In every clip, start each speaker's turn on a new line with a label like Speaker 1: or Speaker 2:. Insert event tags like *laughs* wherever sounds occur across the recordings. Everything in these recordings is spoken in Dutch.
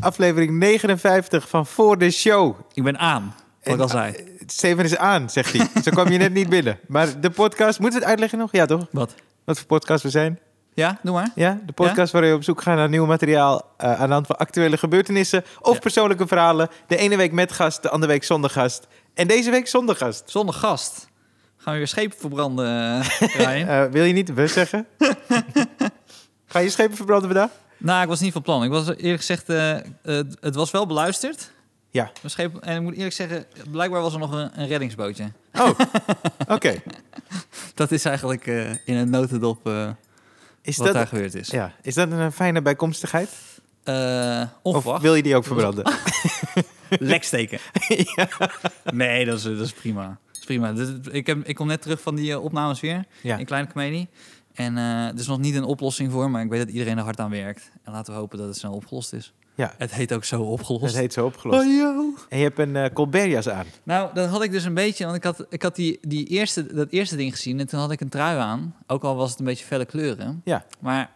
Speaker 1: aflevering 59 van Voor de Show.
Speaker 2: Ik ben aan, wat ik al zei.
Speaker 1: eh, Steven is aan, zegt
Speaker 2: *laughs*
Speaker 1: hij. Zo kwam je net niet binnen. Maar de podcast, moeten we het uitleggen nog? Ja, toch?
Speaker 2: Wat?
Speaker 1: Wat voor podcast we zijn?
Speaker 2: Ja, doe maar.
Speaker 1: Ja, de podcast waarin we op zoek gaan naar nieuw materiaal eh, aan de hand van actuele gebeurtenissen of
Speaker 2: Ja.
Speaker 1: persoonlijke verhalen. De ene week met gast, de andere week zonder gast. En deze week zonder gast.
Speaker 2: Zonder gast. Gaan we weer schepen
Speaker 1: *laughs*
Speaker 2: verbranden, eh, Ryan?
Speaker 1: Eh, wil je niet we
Speaker 2: *laughs*
Speaker 1: zeggen? Ga je schepen verbranden vandaag?
Speaker 2: nou, ik was niet van plan. Ik was eerlijk gezegd, eh, eh, het was wel beluisterd.
Speaker 1: Ja.
Speaker 2: Mijn Scheep, en ik moet eerlijk zeggen, blijkbaar was er nog een, een reddingsbootje.
Speaker 1: Oh, oké.
Speaker 2: Dat is eigenlijk eh, in een notendop eh,
Speaker 1: Is,
Speaker 2: wat daar
Speaker 1: dat-
Speaker 2: gebeurd is.
Speaker 1: ja, is dat een fijne bijkomstigheid?
Speaker 2: Eh,
Speaker 1: Of
Speaker 2: onverwacht.
Speaker 1: wil je die ook verbranden? *laughs*
Speaker 2: Leksteken. Nee, dat is, dat is prima. Dat is prima. Dit- ik, heb, ik kom net terug van die eh, opnames weer
Speaker 1: Ja.
Speaker 2: in Kleine Comedie. En eh er is nog niet een oplossing voor, maar ik weet dat iedereen er hard aan werkt. En laten we hopen dat het snel opgelost is.
Speaker 1: Ja.
Speaker 2: Het heet ook zo
Speaker 1: Dat
Speaker 2: opgelost.
Speaker 1: heet zo opgelost.
Speaker 2: Oh, yo.
Speaker 1: En je hebt een eh Colbertjas aan.
Speaker 2: Nou, dat had ik dus een beetje, want ik had, ik had die, die eerste, dat eerste ding gezien en toen had ik een trui aan. Ook al was het een beetje felle kleuren.
Speaker 1: Ja.
Speaker 2: Maar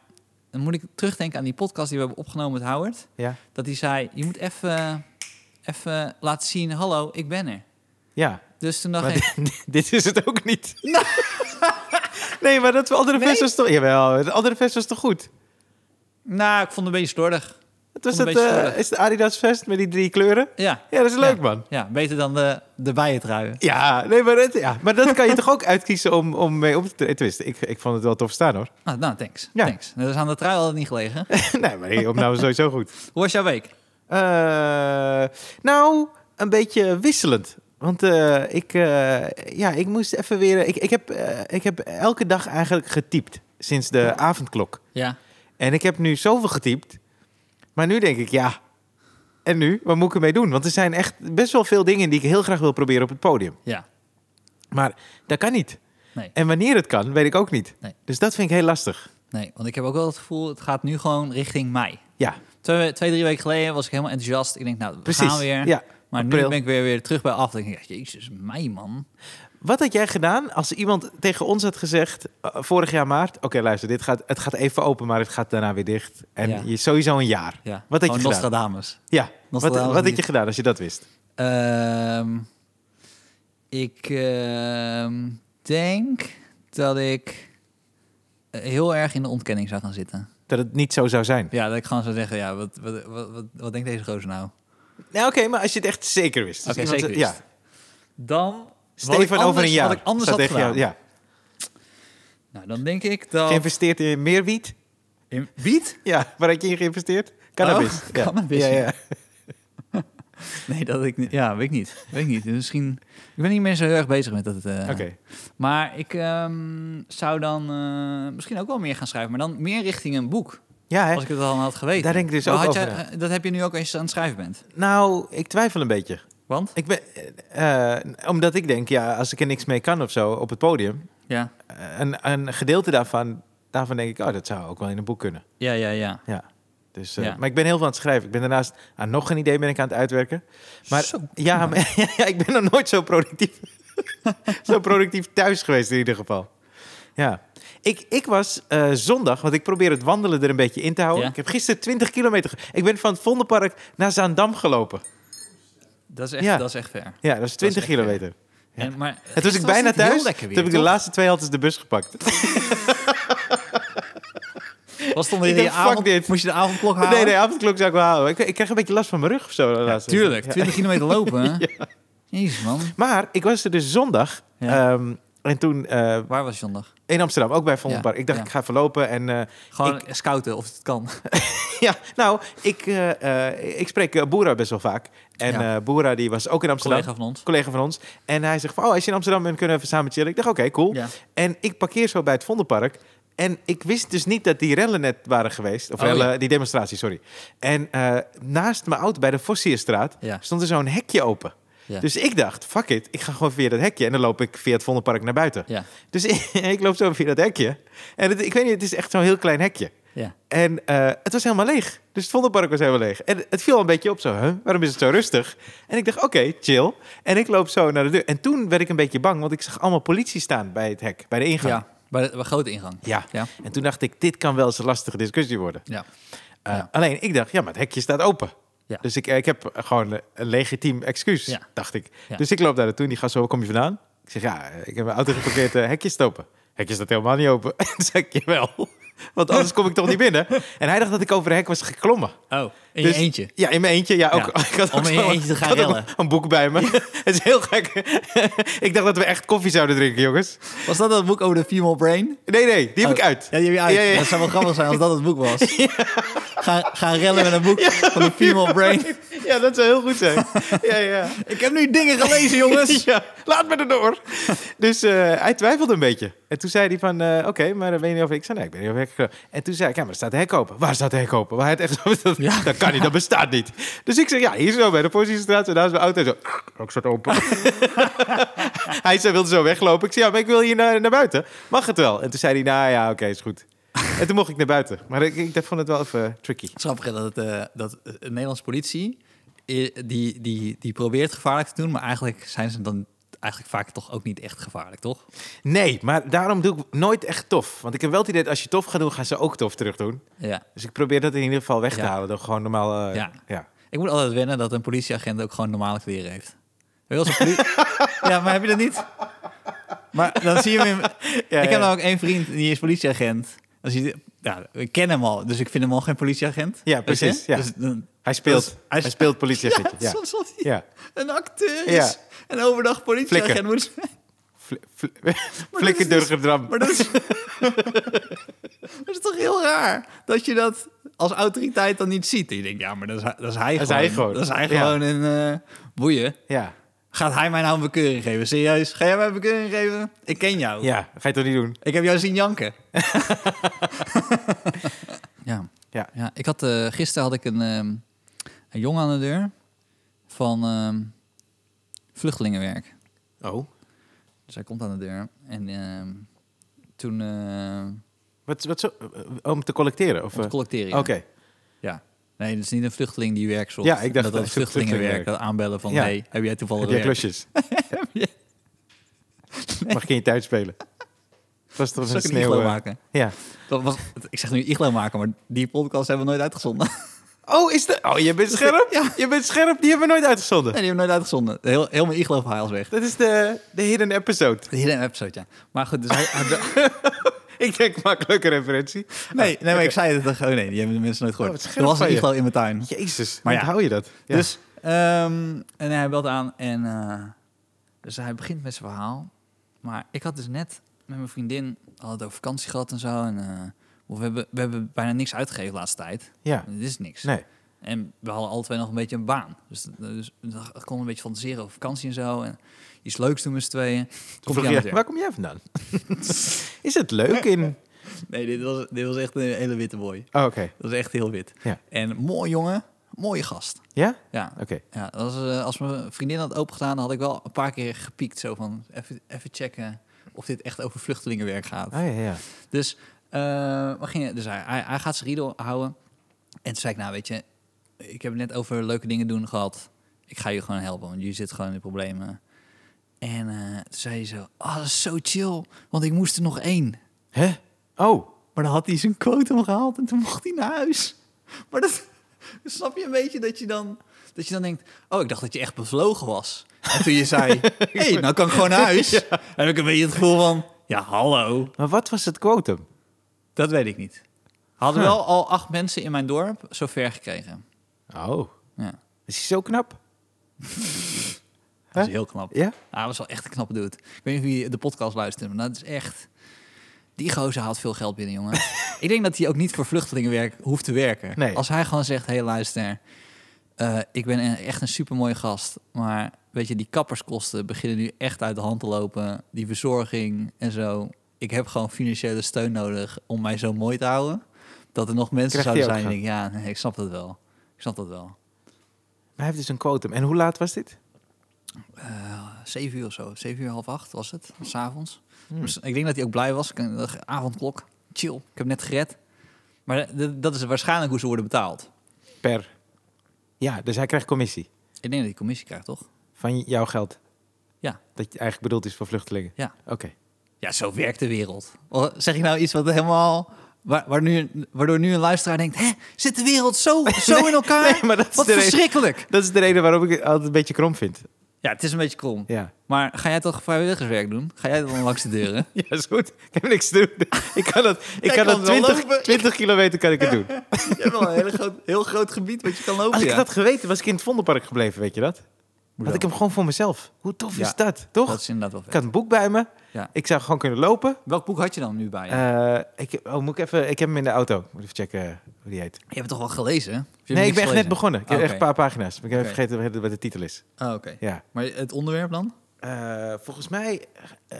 Speaker 2: dan moet ik terugdenken aan die podcast die we hebben opgenomen met Howard.
Speaker 1: Ja.
Speaker 2: Dat hij zei, je moet even even laten zien, hallo, ik ben er.
Speaker 1: Ja.
Speaker 2: Dus toen dacht
Speaker 1: Maar
Speaker 2: ik,
Speaker 1: *laughs* dit, dit is het ook niet.
Speaker 2: *laughs*
Speaker 1: nee, maar dat andere vest was toch... Jawel, het andere vest was toch goed?
Speaker 2: Nou, ik vond het een beetje slordig.
Speaker 1: Het was
Speaker 2: Vond
Speaker 1: dat,
Speaker 2: een beetje
Speaker 1: eh,
Speaker 2: slordig.
Speaker 1: is het Adidas vest met die drie kleuren?
Speaker 2: Ja,
Speaker 1: Ja, dat is leuk, man.
Speaker 2: ja beter dan de, de bijentruien.
Speaker 1: Ja, nee, maar, het, ja, maar dat kan je *laughs* toch ook uitkiezen om, om mee op te treden? Tenminste, ik, ik vond het wel tof staan, hoor. *laughs*
Speaker 2: Nou, nou thanks.
Speaker 1: Ja.
Speaker 2: thanks. Dat is aan de trui al niet
Speaker 1: *laughs*
Speaker 2: gelegen.
Speaker 1: nee, maar die opname is sowieso goed.
Speaker 2: Hoe was jouw week?
Speaker 1: Eh, nou, een beetje wisselend. Want eh, ik, eh, ja, ik moest even weer. Ik, ik, heb, eh, ik heb elke dag eigenlijk getypt sinds de avondklok.
Speaker 2: Ja.
Speaker 1: En ik heb nu zoveel getypt. Maar nu denk ik, ja. En nu? Wat moet ik ermee doen? Want er zijn echt best wel veel dingen die ik heel graag wil proberen op het podium.
Speaker 2: Ja.
Speaker 1: Maar dat kan niet.
Speaker 2: Nee.
Speaker 1: En wanneer het kan, weet ik ook niet.
Speaker 2: Nee.
Speaker 1: Dus dat vind ik heel lastig.
Speaker 2: Nee, want ik heb ook wel het gevoel, het gaat nu gewoon richting mei.
Speaker 1: Ja,
Speaker 2: Twee, twee drie weken geleden was ik helemaal enthousiast. Ik denk, nou, we
Speaker 1: precies.
Speaker 2: gaan weer.
Speaker 1: Ja.
Speaker 2: maar
Speaker 1: april.
Speaker 2: nu ben ik weer, weer terug bij af. Dan denk ik, ja, jezus, mei, man.
Speaker 1: Wat had jij gedaan als iemand tegen ons had gezegd, eh, vorig jaar maart, oké luister, dit gaat, het gaat even open, maar het gaat daarna weer dicht. En
Speaker 2: Ja.
Speaker 1: je sowieso een jaar.
Speaker 2: Ja.
Speaker 1: Wat had
Speaker 2: Gewoon
Speaker 1: je gedaan?
Speaker 2: Nostradamus.
Speaker 1: Ja, wat,
Speaker 2: Nostradamus
Speaker 1: wat had
Speaker 2: niet.
Speaker 1: je gedaan als je dat wist?
Speaker 2: Ehm, ik ehm, denk dat ik eh, heel erg in de ontkenning zou gaan zitten.
Speaker 1: Dat het niet zo zou zijn.
Speaker 2: Ja, dat ik gewoon zou zeggen, ja, wat, wat, wat, wat, wat denkt deze gozer nou?
Speaker 1: Nou oké, maar als je het echt zeker wist. Dus
Speaker 2: Oké,
Speaker 1: iemand-
Speaker 2: zeker
Speaker 1: ja.
Speaker 2: wist. Dan,
Speaker 1: Stefan
Speaker 2: ik
Speaker 1: over
Speaker 2: anders-
Speaker 1: een jaar.
Speaker 2: wat ik anders
Speaker 1: staat
Speaker 2: had
Speaker 1: tegen jou.
Speaker 2: gedaan.
Speaker 1: ja.
Speaker 2: nou, dan denk ik dat...
Speaker 1: Geïnvesteerd in meer wiet?
Speaker 2: in wiet?
Speaker 1: Ja, waar had je in geïnvesteerd? Cannabis.
Speaker 2: Oh,
Speaker 1: ja.
Speaker 2: cannabis,
Speaker 1: Ja,
Speaker 2: ja.
Speaker 1: ja.
Speaker 2: Nee, dat ik niet. Ja, weet ik niet. Weet ik niet. Dus Misschien... Ik ben niet meer zo heel erg bezig met dat... eh,
Speaker 1: Oké.
Speaker 2: Maar ik ehm, zou dan eh, misschien ook wel meer gaan schrijven. Maar dan meer richting een boek.
Speaker 1: Ja, hè?
Speaker 2: Als ik het al had geweten.
Speaker 1: Daar denk ik dus
Speaker 2: Maar
Speaker 1: ook
Speaker 2: had
Speaker 1: over
Speaker 2: jij- eh, Dat heb je nu ook als je aan het schrijven bent.
Speaker 1: nou, ik twijfel een beetje.
Speaker 2: Want?
Speaker 1: Ik ben, eh, eh, omdat ik denk, ja, als ik er niks mee kan of zo op het podium, eh,
Speaker 2: Ja.
Speaker 1: een, een gedeelte daarvan, daarvan denk ik, oh, dat zou ook wel in een boek kunnen.
Speaker 2: Ja, ja, ja.
Speaker 1: Ja. Dus, eh,
Speaker 2: Ja.
Speaker 1: Maar ik ben heel veel aan het schrijven. Ik ben daarnaast aan nog een idee ben ik aan het uitwerken. Maar,
Speaker 2: Zo.
Speaker 1: Ja, maar, *laughs* ja, ik ben nog nooit zo productief, *laughs* zo productief thuis geweest in ieder geval. Ja. Ik, ik was eh, zondag, want ik probeer het wandelen er een beetje in te houden.
Speaker 2: Ja.
Speaker 1: Ik heb gisteren 20 kilometer. ge- Ik ben van het Vondelpark naar Zaandam gelopen.
Speaker 2: Dat is echt,
Speaker 1: Ja.
Speaker 2: dat is echt ver.
Speaker 1: Ja, dat is 20
Speaker 2: echt
Speaker 1: kilometer. Ja.
Speaker 2: En, maar
Speaker 1: En toen was ik
Speaker 2: gisteren
Speaker 1: bijna
Speaker 2: het heel
Speaker 1: thuis.
Speaker 2: lekker
Speaker 1: toen heb ik de
Speaker 2: weer,
Speaker 1: laatste twee haltes de bus gepakt.
Speaker 2: toch? Was stond
Speaker 1: Ik
Speaker 2: in die
Speaker 1: dacht, fuck
Speaker 2: avond,
Speaker 1: dit.
Speaker 2: moest je de avondklok halen?
Speaker 1: *laughs* *laughs* Nee, nee, avondklok zou ik wel houden. Ik, ik krijg een beetje last van mijn rug of zo. de laatste tijd.
Speaker 2: Tuurlijk,
Speaker 1: Ja.
Speaker 2: 20 kilometer lopen.
Speaker 1: *laughs*
Speaker 2: hè? Jezus man,
Speaker 1: Maar ik was er dus zondag.
Speaker 2: Ja.
Speaker 1: ehm, en toen eh,
Speaker 2: waar was je zondag?
Speaker 1: in Amsterdam, ook bij Vondelpark.
Speaker 2: Ja,
Speaker 1: Ik dacht,
Speaker 2: ja.
Speaker 1: ik ga verlopen. En eh, *laughs*
Speaker 2: Gewoon scouten of het kan.
Speaker 1: ja, nou, ik, eh, eh, ik spreek eh, Boera best wel vaak. En eh
Speaker 2: Ja.
Speaker 1: Boera, die was ook in Amsterdam.
Speaker 2: collega van ons.
Speaker 1: Collega van ons. En hij zegt van, oh, als je in Amsterdam bent, kunnen we even samen chillen. Ik dacht, oké, cool.
Speaker 2: Ja.
Speaker 1: En ik parkeer zo bij het Vondelpark. En ik wist dus niet dat die rellen net waren geweest. Of
Speaker 2: Oh,
Speaker 1: rellen,
Speaker 2: ja.
Speaker 1: die demonstratie, sorry. En eh, naast mijn auto bij de Fossierstraat
Speaker 2: Ja.
Speaker 1: stond er zo'n hekje open.
Speaker 2: Ja.
Speaker 1: Dus ik dacht, fuck it, ik ga gewoon via dat hekje. En dan loop ik via het Vondelpark naar buiten.
Speaker 2: Ja,
Speaker 1: Dus *laughs* ik, ik loop zo via dat hekje. En het- ik weet niet, het is echt zo'n heel klein hekje.
Speaker 2: ja.
Speaker 1: En eh, het was helemaal leeg. Dus het Vondelpark was helemaal leeg. En het viel al een beetje op zo, huh? waarom is het zo rustig? En ik dacht, oké, chill. En ik loop zo naar de deur. En toen werd ik een beetje bang, want ik zag allemaal politie staan bij het hek, bij de ingang.
Speaker 2: ja. Bij, de, bij grote ingang.
Speaker 1: Ja.
Speaker 2: Ja.
Speaker 1: En toen dacht ik, dit kan wel eens een lastige discussie worden.
Speaker 2: Ja.
Speaker 1: Eh,
Speaker 2: Ja.
Speaker 1: Alleen ik dacht, ja, maar het hekje staat open.
Speaker 2: Ja.
Speaker 1: Dus ik, ik heb gewoon een- een legitiem excuus,
Speaker 2: Ja.
Speaker 1: dacht ik.
Speaker 2: Ja.
Speaker 1: Dus ik loop daar naartoe en die gast zo, waar kom je vandaan? Ik zeg, ja, ik heb mijn auto geparkeerd, eh, hekje is het open. Hekje staat helemaal niet open. *laughs* En zeg ik, jawel. Want anders kom ik toch niet binnen. En hij dacht dat ik over een hek was geklommen.
Speaker 2: Oh, in
Speaker 1: Dus-
Speaker 2: je eentje.
Speaker 1: Ja, in mijn eentje. Ja, ook.
Speaker 2: Ja,
Speaker 1: *laughs* Ik had
Speaker 2: om
Speaker 1: ook
Speaker 2: in je
Speaker 1: zo'n-
Speaker 2: eentje te gaan
Speaker 1: ik had ook
Speaker 2: rellen.
Speaker 1: Een boek bij me. *laughs* Het is heel gek. ik dacht dat we echt koffie zouden drinken, jongens.
Speaker 2: Was dat dat boek over de female brain?
Speaker 1: Nee, nee, die heb ik uit.
Speaker 2: Oh. Ja, die heb je uit.
Speaker 1: Ja, ja, ja.
Speaker 2: Dat zou wel grappig zijn als dat het boek was.
Speaker 1: *laughs*
Speaker 2: Ga, ga rellen met een boek van de female
Speaker 1: *laughs*
Speaker 2: brain.
Speaker 1: Ja, dat zou heel goed zijn.
Speaker 2: *laughs*
Speaker 1: ja, ja.
Speaker 2: Ik heb nu dingen
Speaker 1: *laughs*
Speaker 2: gelezen, *laughs* jongens.
Speaker 1: ja, laat me erdoor. dus eh, hij twijfelde een beetje. En toen zei hij van, eh, oké, maar dan ben je niet of ik... Ik zei, nee, ik ben niet of ik... En toen zei ik, ja, maar er staat hek open. Waar staat hek open? Waar het echt *laughs* zo... Dat,
Speaker 2: Ja.
Speaker 1: dat kan niet, dat bestaat niet. Dus ik zei, ja, hier zo bij de Positiestraat. En daar is mijn auto. En zo, ook staat open. hij zei, wilde zo weglopen. Ik zei, ja, maar ik wil hier naar, naar buiten. Mag het wel? En toen zei hij, nou ja, oké, is goed. En toen mocht ik naar buiten. Maar ik, ik vond het wel even tricky.
Speaker 2: Het is grappig hè, dat, het, eh, dat eh, de Nederlandse politie, eh, die, die, die probeert gevaarlijk te doen, maar eigenlijk zijn ze dan eigenlijk vaak toch ook niet echt gevaarlijk, toch?
Speaker 1: Nee, maar daarom doe ik nooit echt tof. Want ik heb wel het idee dat als je tof gaat doen, gaan ze ook tof terug doen.
Speaker 2: Ja.
Speaker 1: Dus ik probeer dat in ieder geval weg te
Speaker 2: Ja.
Speaker 1: halen door gewoon normaal... eh, ja.
Speaker 2: Ja. Ik moet altijd wennen dat een politieagent ook gewoon normale kleren heeft. Heel zo'n poli- *laughs* ja, maar heb je dat niet? Maar dan zie je hem. in-
Speaker 1: *laughs* Ja,
Speaker 2: ik
Speaker 1: ja.
Speaker 2: heb nou ook één vriend die is politieagent. Als je, ja, ik ken hem al, dus ik vind hem al geen politieagent.
Speaker 1: Ja,
Speaker 2: Weet je?
Speaker 1: precies, ja.
Speaker 2: Dus dan-
Speaker 1: Hij speelt,
Speaker 2: Dus
Speaker 1: hij,
Speaker 2: hij-
Speaker 1: speelt politieagentje. Ja.
Speaker 2: *laughs* ja, soms als hij
Speaker 1: Ja.
Speaker 2: een acteur
Speaker 1: Ja.
Speaker 2: is en overdag politieagent
Speaker 1: Flikker.
Speaker 2: moet zijn.
Speaker 1: Fl- *laughs* fl- Flikkerdurger dram.
Speaker 2: dus- Maar dat is, *laughs* dat is toch heel raar dat je dat als autoriteit dan niet ziet. En je denkt, ja, maar dat is, hij- dat is hij
Speaker 1: Dat is
Speaker 2: gewoon.
Speaker 1: hij gewoon.
Speaker 2: Dat is hij
Speaker 1: Ja.
Speaker 2: gewoon een eh, boeien.
Speaker 1: Ja.
Speaker 2: Gaat hij mij nou een bekeuring geven? Serieus? Ga jij mij een bekeuring geven? Ik ken jou.
Speaker 1: ja, ga je toch niet doen?
Speaker 2: Ik heb jou zien janken. *laughs* ja.
Speaker 1: Ja.
Speaker 2: ja ik had, eh, gisteren had ik een, ehm, een jongen aan de deur van ehm, vluchtelingenwerk.
Speaker 1: Oh.
Speaker 2: Dus hij komt aan de deur. En ehm, toen eh,
Speaker 1: Wat, wat zo, eh, om te collecteren? Of,
Speaker 2: om te
Speaker 1: eh,
Speaker 2: collecteren.
Speaker 1: Oké.
Speaker 2: ja. Ja. Nee, dat is niet een vluchteling die werk zocht.
Speaker 1: Ja, ik dacht
Speaker 2: dat dat
Speaker 1: echt
Speaker 2: vluchtelingenwerk,
Speaker 1: vluchtelingenwerk.
Speaker 2: dat aanbellen van...
Speaker 1: Ja.
Speaker 2: hey, heb jij toevallig
Speaker 1: Heb jij
Speaker 2: werk? *laughs*
Speaker 1: klusjes? Mag ik in je tuin spelen? Het was toch
Speaker 2: Zal
Speaker 1: een
Speaker 2: ik een
Speaker 1: sneeuw...
Speaker 2: iglo
Speaker 1: eh,
Speaker 2: maken?
Speaker 1: ja.
Speaker 2: Dat was, ik zeg nu iglo maken, maar die podcast hebben we nooit uitgezonden. *laughs*
Speaker 1: Oh, is dat... Oh, je bent scherp?
Speaker 2: Ja.
Speaker 1: Je bent scherp, die hebben we nooit uitgezonden.
Speaker 2: Nee, die hebben we nooit uitgezonden. Heel, heel mijn iglo-verhaal is weg.
Speaker 1: Dat is de, de hidden episode.
Speaker 2: De hele episode, ja. Maar goed, dus hij- hij be-
Speaker 1: Ik denk, maak leuke referentie.
Speaker 2: *laughs* nee, nee, maar ik zei het. Oh nee, die hebben de mensen nooit
Speaker 1: Oh, wat
Speaker 2: gehoord.
Speaker 1: scherp
Speaker 2: er was
Speaker 1: van
Speaker 2: een
Speaker 1: je.
Speaker 2: iglo in mijn tuin.
Speaker 1: Jezus,
Speaker 2: Maar
Speaker 1: maar
Speaker 2: ja.
Speaker 1: hou je dat? Ja.
Speaker 2: Dus, ehm, en hij belt aan en eh, dus hij begint met zijn verhaal. Maar ik had dus net met mijn vriendin al het over vakantie gehad en zo. En, eh, we, hebben, we hebben bijna niks uitgegeven de laatste tijd.
Speaker 1: ja.
Speaker 2: Dit is niks.
Speaker 1: Nee.
Speaker 2: En we hadden alle twee nog een beetje een baan. Dus, dus ik kon een beetje fantaseren over vakantie en zo. En iets leuks doen met z'n tweeën. Kom
Speaker 1: Vroeg
Speaker 2: je aan
Speaker 1: je,
Speaker 2: het
Speaker 1: waar
Speaker 2: werk?
Speaker 1: kom jij vandaan? *laughs* is het leuk in...
Speaker 2: Nee, dit was, dit was echt een hele witte boy.
Speaker 1: Oh, oké.
Speaker 2: Dat was echt heel wit.
Speaker 1: Ja.
Speaker 2: En mooi jongen, mooie gast.
Speaker 1: Ja?
Speaker 2: Ja,
Speaker 1: Oké.
Speaker 2: Ja, dat was, eh, als mijn vriendin had opengedaan, dan had ik wel een paar keer gepiekt. Zo van, even, even checken of dit echt over vluchtelingenwerk gaat.
Speaker 1: Ah, ja, ja.
Speaker 2: Dus, eh, we gingen, dus hij, hij, hij gaat zijn riedel houden. En toen zei ik, nou weet je, ik heb het net over leuke dingen doen gehad. Ik ga je gewoon helpen, want je zit gewoon in de problemen. En eh, toen zei hij zo, oh, dat is zo chill, want ik moest er nog één.
Speaker 1: Hè? Oh.
Speaker 2: Maar dan had hij zijn quotum gehaald en toen mocht hij naar huis. Maar dat snap je een beetje dat je dan, dat je dan denkt: Oh, ik dacht dat je echt bevlogen was. En toen je *laughs* zei: Hé, hey, nou kan ik gewoon naar huis. Heb ik een beetje het gevoel van: Ja, hallo.
Speaker 1: Maar wat was het quotum?
Speaker 2: Dat weet ik niet. Hadden
Speaker 1: Huh.
Speaker 2: wel al acht mensen in mijn dorp zover gekregen.
Speaker 1: Oh.
Speaker 2: Ja,
Speaker 1: Is hij zo knap?
Speaker 2: dat
Speaker 1: Hè?
Speaker 2: is heel knap.
Speaker 1: Ja?
Speaker 2: Ah, dat was wel echt een knappe dude. Ik weet niet of wie de podcast luistert, maar dat is echt... Die gozer haalt veel geld
Speaker 1: *laughs*
Speaker 2: binnen, jongen. ik denk dat hij ook niet voor vluchtelingenwerk hoeft te werken.
Speaker 1: Nee.
Speaker 2: Als hij gewoon zegt, hey, luister, eh, ik ben een- echt een supermooie gast, maar weet je, die kapperskosten beginnen nu echt uit de hand te lopen. Die verzorging en zo. Ik heb gewoon financiële steun nodig om mij zo mooi te houden. Dat er nog mensen
Speaker 1: Krijgt hij
Speaker 2: zouden zijn die
Speaker 1: ook
Speaker 2: denken, ja, nee, ik snap dat wel. Ik snap dat wel.
Speaker 1: Maar hij heeft dus een quotum. En hoe laat was dit?
Speaker 2: Eh, zeven uur of zo. Zeven uur, half acht was het. S'avonds. Dus ik denk dat hij ook blij was. Ik- eh, Avondklok. Chill. Ik heb net gered. Maar eh, d- dat is waarschijnlijk hoe ze worden betaald.
Speaker 1: Per. Ja, dus hij krijgt commissie
Speaker 2: Ik denk dat hij commissie krijgt, toch?
Speaker 1: van jouw geld.
Speaker 2: Ja.
Speaker 1: Dat je eigenlijk bedoeld is voor vluchtelingen.
Speaker 2: Ja.
Speaker 1: Oké. *laughs*
Speaker 2: Ja, zo werkt de wereld. Oh, Zeg ik nou iets wat helemaal Wa- waar nu, waardoor nu een luisteraar denkt, hè, zit de wereld *laughs* zo, zo in elkaar?
Speaker 1: nee, maar dat is
Speaker 2: Wat
Speaker 1: de reden.
Speaker 2: verschrikkelijk.
Speaker 1: Dat is de reden waarom ik het altijd een beetje krom vind.
Speaker 2: Ja, het is een beetje krom.
Speaker 1: Ja.
Speaker 2: Maar ga jij toch vrijwilligerswerk doen? Ga jij dan langs de deuren?
Speaker 1: Ja, is goed. Ik heb niks te doen. Ik kan dat, ik kan
Speaker 2: kan
Speaker 1: dat
Speaker 2: wel
Speaker 1: 20,
Speaker 2: lopen.
Speaker 1: 20 kilometer kan ik het doen.
Speaker 2: *laughs* je hebt wel een hele groot, heel groot gebied wat je kan lopen.
Speaker 1: Als ik
Speaker 2: Oh, ja.
Speaker 1: dat had geweten, was ik in het Vondelpark gebleven, weet je dat? Had
Speaker 2: dan?
Speaker 1: ik hem gewoon voor mezelf. Hoe tof
Speaker 2: Ja.
Speaker 1: is dat, toch?
Speaker 2: Dat is inderdaad wel vet.
Speaker 1: Ik had een boek bij me.
Speaker 2: Ja.
Speaker 1: Ik zou gewoon kunnen lopen.
Speaker 2: Welk boek had je dan nu bij je?
Speaker 1: Eh, ik, oh, moet ik, even, ik heb hem in de auto. Moet even checken hoe die heet.
Speaker 2: je hebt het toch wel gelezen? hè? Of je hebt
Speaker 1: Nee, ik ben
Speaker 2: niks
Speaker 1: echt net
Speaker 2: gelezen?
Speaker 1: begonnen. Ik heb
Speaker 2: Ah,
Speaker 1: echt een
Speaker 2: oké.
Speaker 1: paar pagina's. Maar ik heb
Speaker 2: Oké.
Speaker 1: even vergeten wat de titel is.
Speaker 2: Ah, oké.
Speaker 1: Ja.
Speaker 2: Maar het onderwerp dan?
Speaker 1: Eh, volgens mij... eh,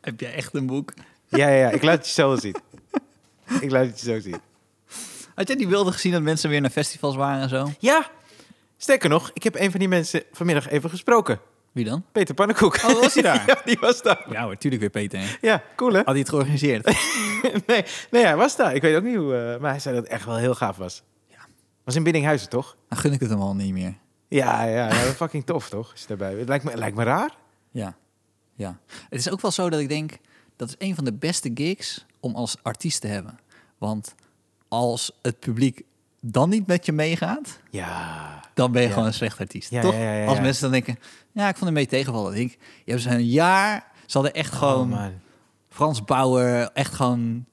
Speaker 2: Heb jij echt een boek?
Speaker 1: ja, ja, ja, ik laat het je zo
Speaker 2: *laughs*
Speaker 1: wel zien. ik laat het je zo zien.
Speaker 2: Had jij die beelden gezien dat mensen weer naar festivals waren en zo?
Speaker 1: Ja, sterker nog, ik heb een van die mensen vanmiddag even gesproken.
Speaker 2: Wie dan?
Speaker 1: Peter Pannenkoek.
Speaker 2: Oh, was hij daar?
Speaker 1: *laughs* ja, die was daar.
Speaker 2: Ja hoor, tuurlijk weer Peter. Had
Speaker 1: Ja, cool hè?
Speaker 2: hij het georganiseerd?
Speaker 1: *laughs* nee, nee, hij was daar. Ik weet ook niet hoe... eh, maar hij zei dat het echt wel heel gaaf was.
Speaker 2: Ja.
Speaker 1: Was in Biddinghuizen, toch?
Speaker 2: *laughs* Dan gun ik het hem al niet meer.
Speaker 1: Ja, ja, ja, fucking tof toch? Als je daarbij bent. Lijkt me, lijkt me raar.
Speaker 2: Ja. ja. Het is ook wel zo dat ik denk, dat is een van de beste gigs om als artiest te hebben. Want als het publiek dan niet met je meegaat,
Speaker 1: Ja.
Speaker 2: dan ben je
Speaker 1: Ja.
Speaker 2: gewoon een slecht artiest.
Speaker 1: Ja,
Speaker 2: toch?
Speaker 1: ja, ja, ja,
Speaker 2: Als
Speaker 1: ja.
Speaker 2: mensen dan denken, ja, ik vond hem mee tegenvallen. Dan denk ik, je hebt ze een jaar, ze hadden echt
Speaker 1: Oh
Speaker 2: gewoon
Speaker 1: man.
Speaker 2: Frans Bauer, echt gewoon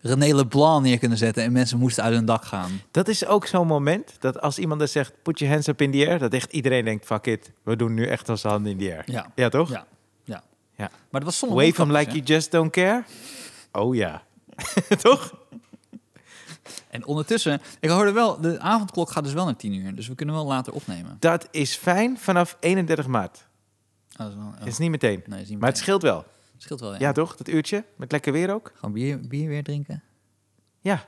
Speaker 2: René Leblanc neer kunnen zetten. En mensen moesten uit hun dak gaan.
Speaker 1: Dat is ook zo'n moment dat als iemand dan zegt, put your hands up in the air, dat echt iedereen denkt, fuck it, we doen nu echt onze handen in the air.
Speaker 2: Ja.
Speaker 1: Ja, toch?
Speaker 2: Ja. ja.
Speaker 1: Ja.
Speaker 2: Maar dat was zonder
Speaker 1: Wave them
Speaker 2: mondkapjes,
Speaker 1: like you just don't care. Oh ja. *laughs* toch?
Speaker 2: hè. En ondertussen, ik hoorde wel, de avondklok gaat dus wel naar tien uur. Dus we kunnen wel later opnemen.
Speaker 1: Dat is fijn vanaf 31 maart.
Speaker 2: Ah, dat is wel, oh.
Speaker 1: Dat is niet meteen.
Speaker 2: Nee,
Speaker 1: Maar
Speaker 2: is niet
Speaker 1: het
Speaker 2: meteen.
Speaker 1: scheelt wel.
Speaker 2: Het scheelt wel, ja.
Speaker 1: Ja, toch? Dat uurtje? Met lekker weer ook?
Speaker 2: Gewoon bier, bier weer drinken?
Speaker 1: *laughs* Ja.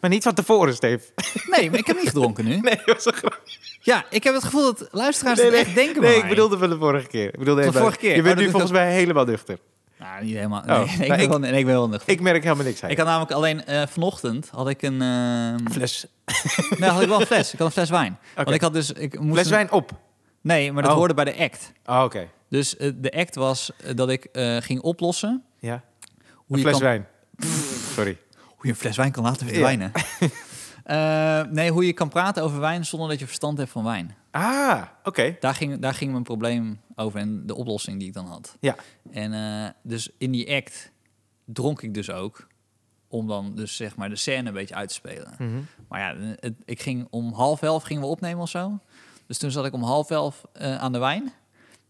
Speaker 1: maar niet van tevoren, Steve.
Speaker 2: Nee, maar ik heb niet gedronken nu.
Speaker 1: *laughs* Nee, dat was een grap.
Speaker 2: Ja, ik heb het gevoel dat luisteraars
Speaker 1: Nee,
Speaker 2: het
Speaker 1: nee.
Speaker 2: echt denken
Speaker 1: Nee,
Speaker 2: bij
Speaker 1: ik
Speaker 2: mij.
Speaker 1: bedoelde van de vorige keer. Ik bedoelde
Speaker 2: Van
Speaker 1: even-
Speaker 2: vorige keer.
Speaker 1: Je bent
Speaker 2: Oh, dat
Speaker 1: nu
Speaker 2: is
Speaker 1: volgens mij helemaal nuchter.
Speaker 2: Nou, niet helemaal.
Speaker 1: Oh,
Speaker 2: Nee, *laughs* ik,
Speaker 1: nou,
Speaker 2: ben
Speaker 1: ik-
Speaker 2: wel, nee, ik ben wel nuchter.
Speaker 1: Ik merk helemaal niks
Speaker 2: Ik
Speaker 1: uit.
Speaker 2: had namelijk alleen eh, vanochtend had ik een. eh,
Speaker 1: Fles,
Speaker 2: nee, had ik wel een fles. Ik had een fles wijn. Want ik had dus. Ik moest
Speaker 1: fles
Speaker 2: een-
Speaker 1: wijn op.
Speaker 2: Nee, maar dat
Speaker 1: Oh.
Speaker 2: hoorde bij de act.
Speaker 1: Oh, oké.
Speaker 2: Dus eh, de act was eh, dat ik eh, ging oplossen
Speaker 1: Ja.
Speaker 2: hoe
Speaker 1: een
Speaker 2: je,
Speaker 1: fles
Speaker 2: kan,
Speaker 1: wijn. Sorry.
Speaker 2: hoe je een fles wijn kan laten
Speaker 1: *laughs*
Speaker 2: verdwijnen. Eh, nee, hoe je kan praten over wijn zonder dat je verstand hebt van wijn.
Speaker 1: Ah, oké.
Speaker 2: Daar ging, daar ging mijn probleem over en de oplossing die ik dan had.
Speaker 1: Ja.
Speaker 2: En eh, dus in die act dronk ik dus ook. Om dan dus zeg maar de scène een beetje uit te spelen.
Speaker 1: Mhm.
Speaker 2: Maar ja, het- ik ging om half elf gingen we opnemen of zo. Dus toen zat ik om half elf eh, aan de wijn.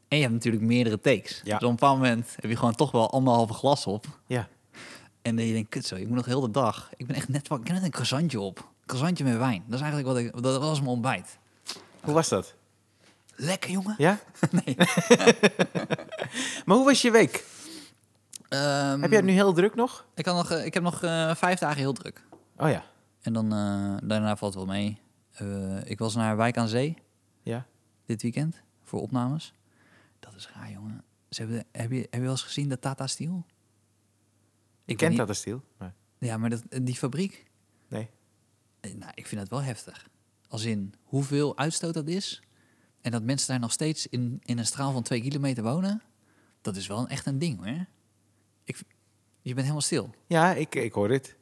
Speaker 2: En je hebt natuurlijk meerdere takes.
Speaker 1: Ja.
Speaker 2: Dus op een bepaald moment heb je gewoon toch wel anderhalve glas op.
Speaker 1: Ja.
Speaker 2: En dan je denkt, kut zo, ik moet nog heel de dag. Ik ben echt net, wakker. ik heb net een croissantje op. Croissantje met wijn. Dat is eigenlijk wat ik, dat was mijn ontbijt.
Speaker 1: Hoe was dat?
Speaker 2: Lekker jongen.
Speaker 1: Ja? *laughs*
Speaker 2: Nee.
Speaker 1: Maar hoe was je week?
Speaker 2: Ehm,
Speaker 1: Heb jij het nu heel druk nog?
Speaker 2: ik, kan nog, eh, ik heb nog eh, vijf dagen heel druk.
Speaker 1: Oh ja.
Speaker 2: En dan, eh, daarna valt het wel mee. Eh, ik was naar Wijk aan Zee
Speaker 1: Ja.
Speaker 2: dit weekend voor opnames. Dat is raar, jongen. Ze hebben, heb, je, heb je wel eens gezien de Tata Steel?
Speaker 1: Ik
Speaker 2: weet
Speaker 1: ken
Speaker 2: niet-
Speaker 1: Tata Steel. Maar...
Speaker 2: Ja, maar dat, die fabriek.
Speaker 1: Nee.
Speaker 2: Eh, Nou, ik vind dat wel heftig. Als in hoeveel uitstoot dat is. En dat mensen daar nog steeds in, in een straal van twee kilometer wonen. Dat is wel een- echt een ding, hoor. Ik, v- je bent helemaal stil.
Speaker 1: Ja, ik, ik hoor dit.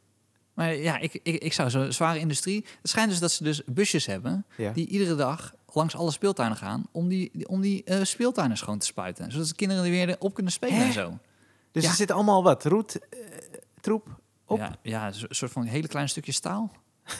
Speaker 2: Maar ja, ik, ik, ik zou zo'n zware industrie... Het schijnt dus dat ze dus busjes hebben...
Speaker 1: Ja.
Speaker 2: die iedere dag langs alle speeltuinen gaan... om die, die- om die eh, speeltuinen schoon te spuiten. Zodat de kinderen er weer op kunnen spelen
Speaker 1: Hè?
Speaker 2: en zo.
Speaker 1: Dus
Speaker 2: Ja.
Speaker 1: er zit allemaal wat. Roet, eh, troep, op.
Speaker 2: Ja, ja, een soort van hele klein stukje staal.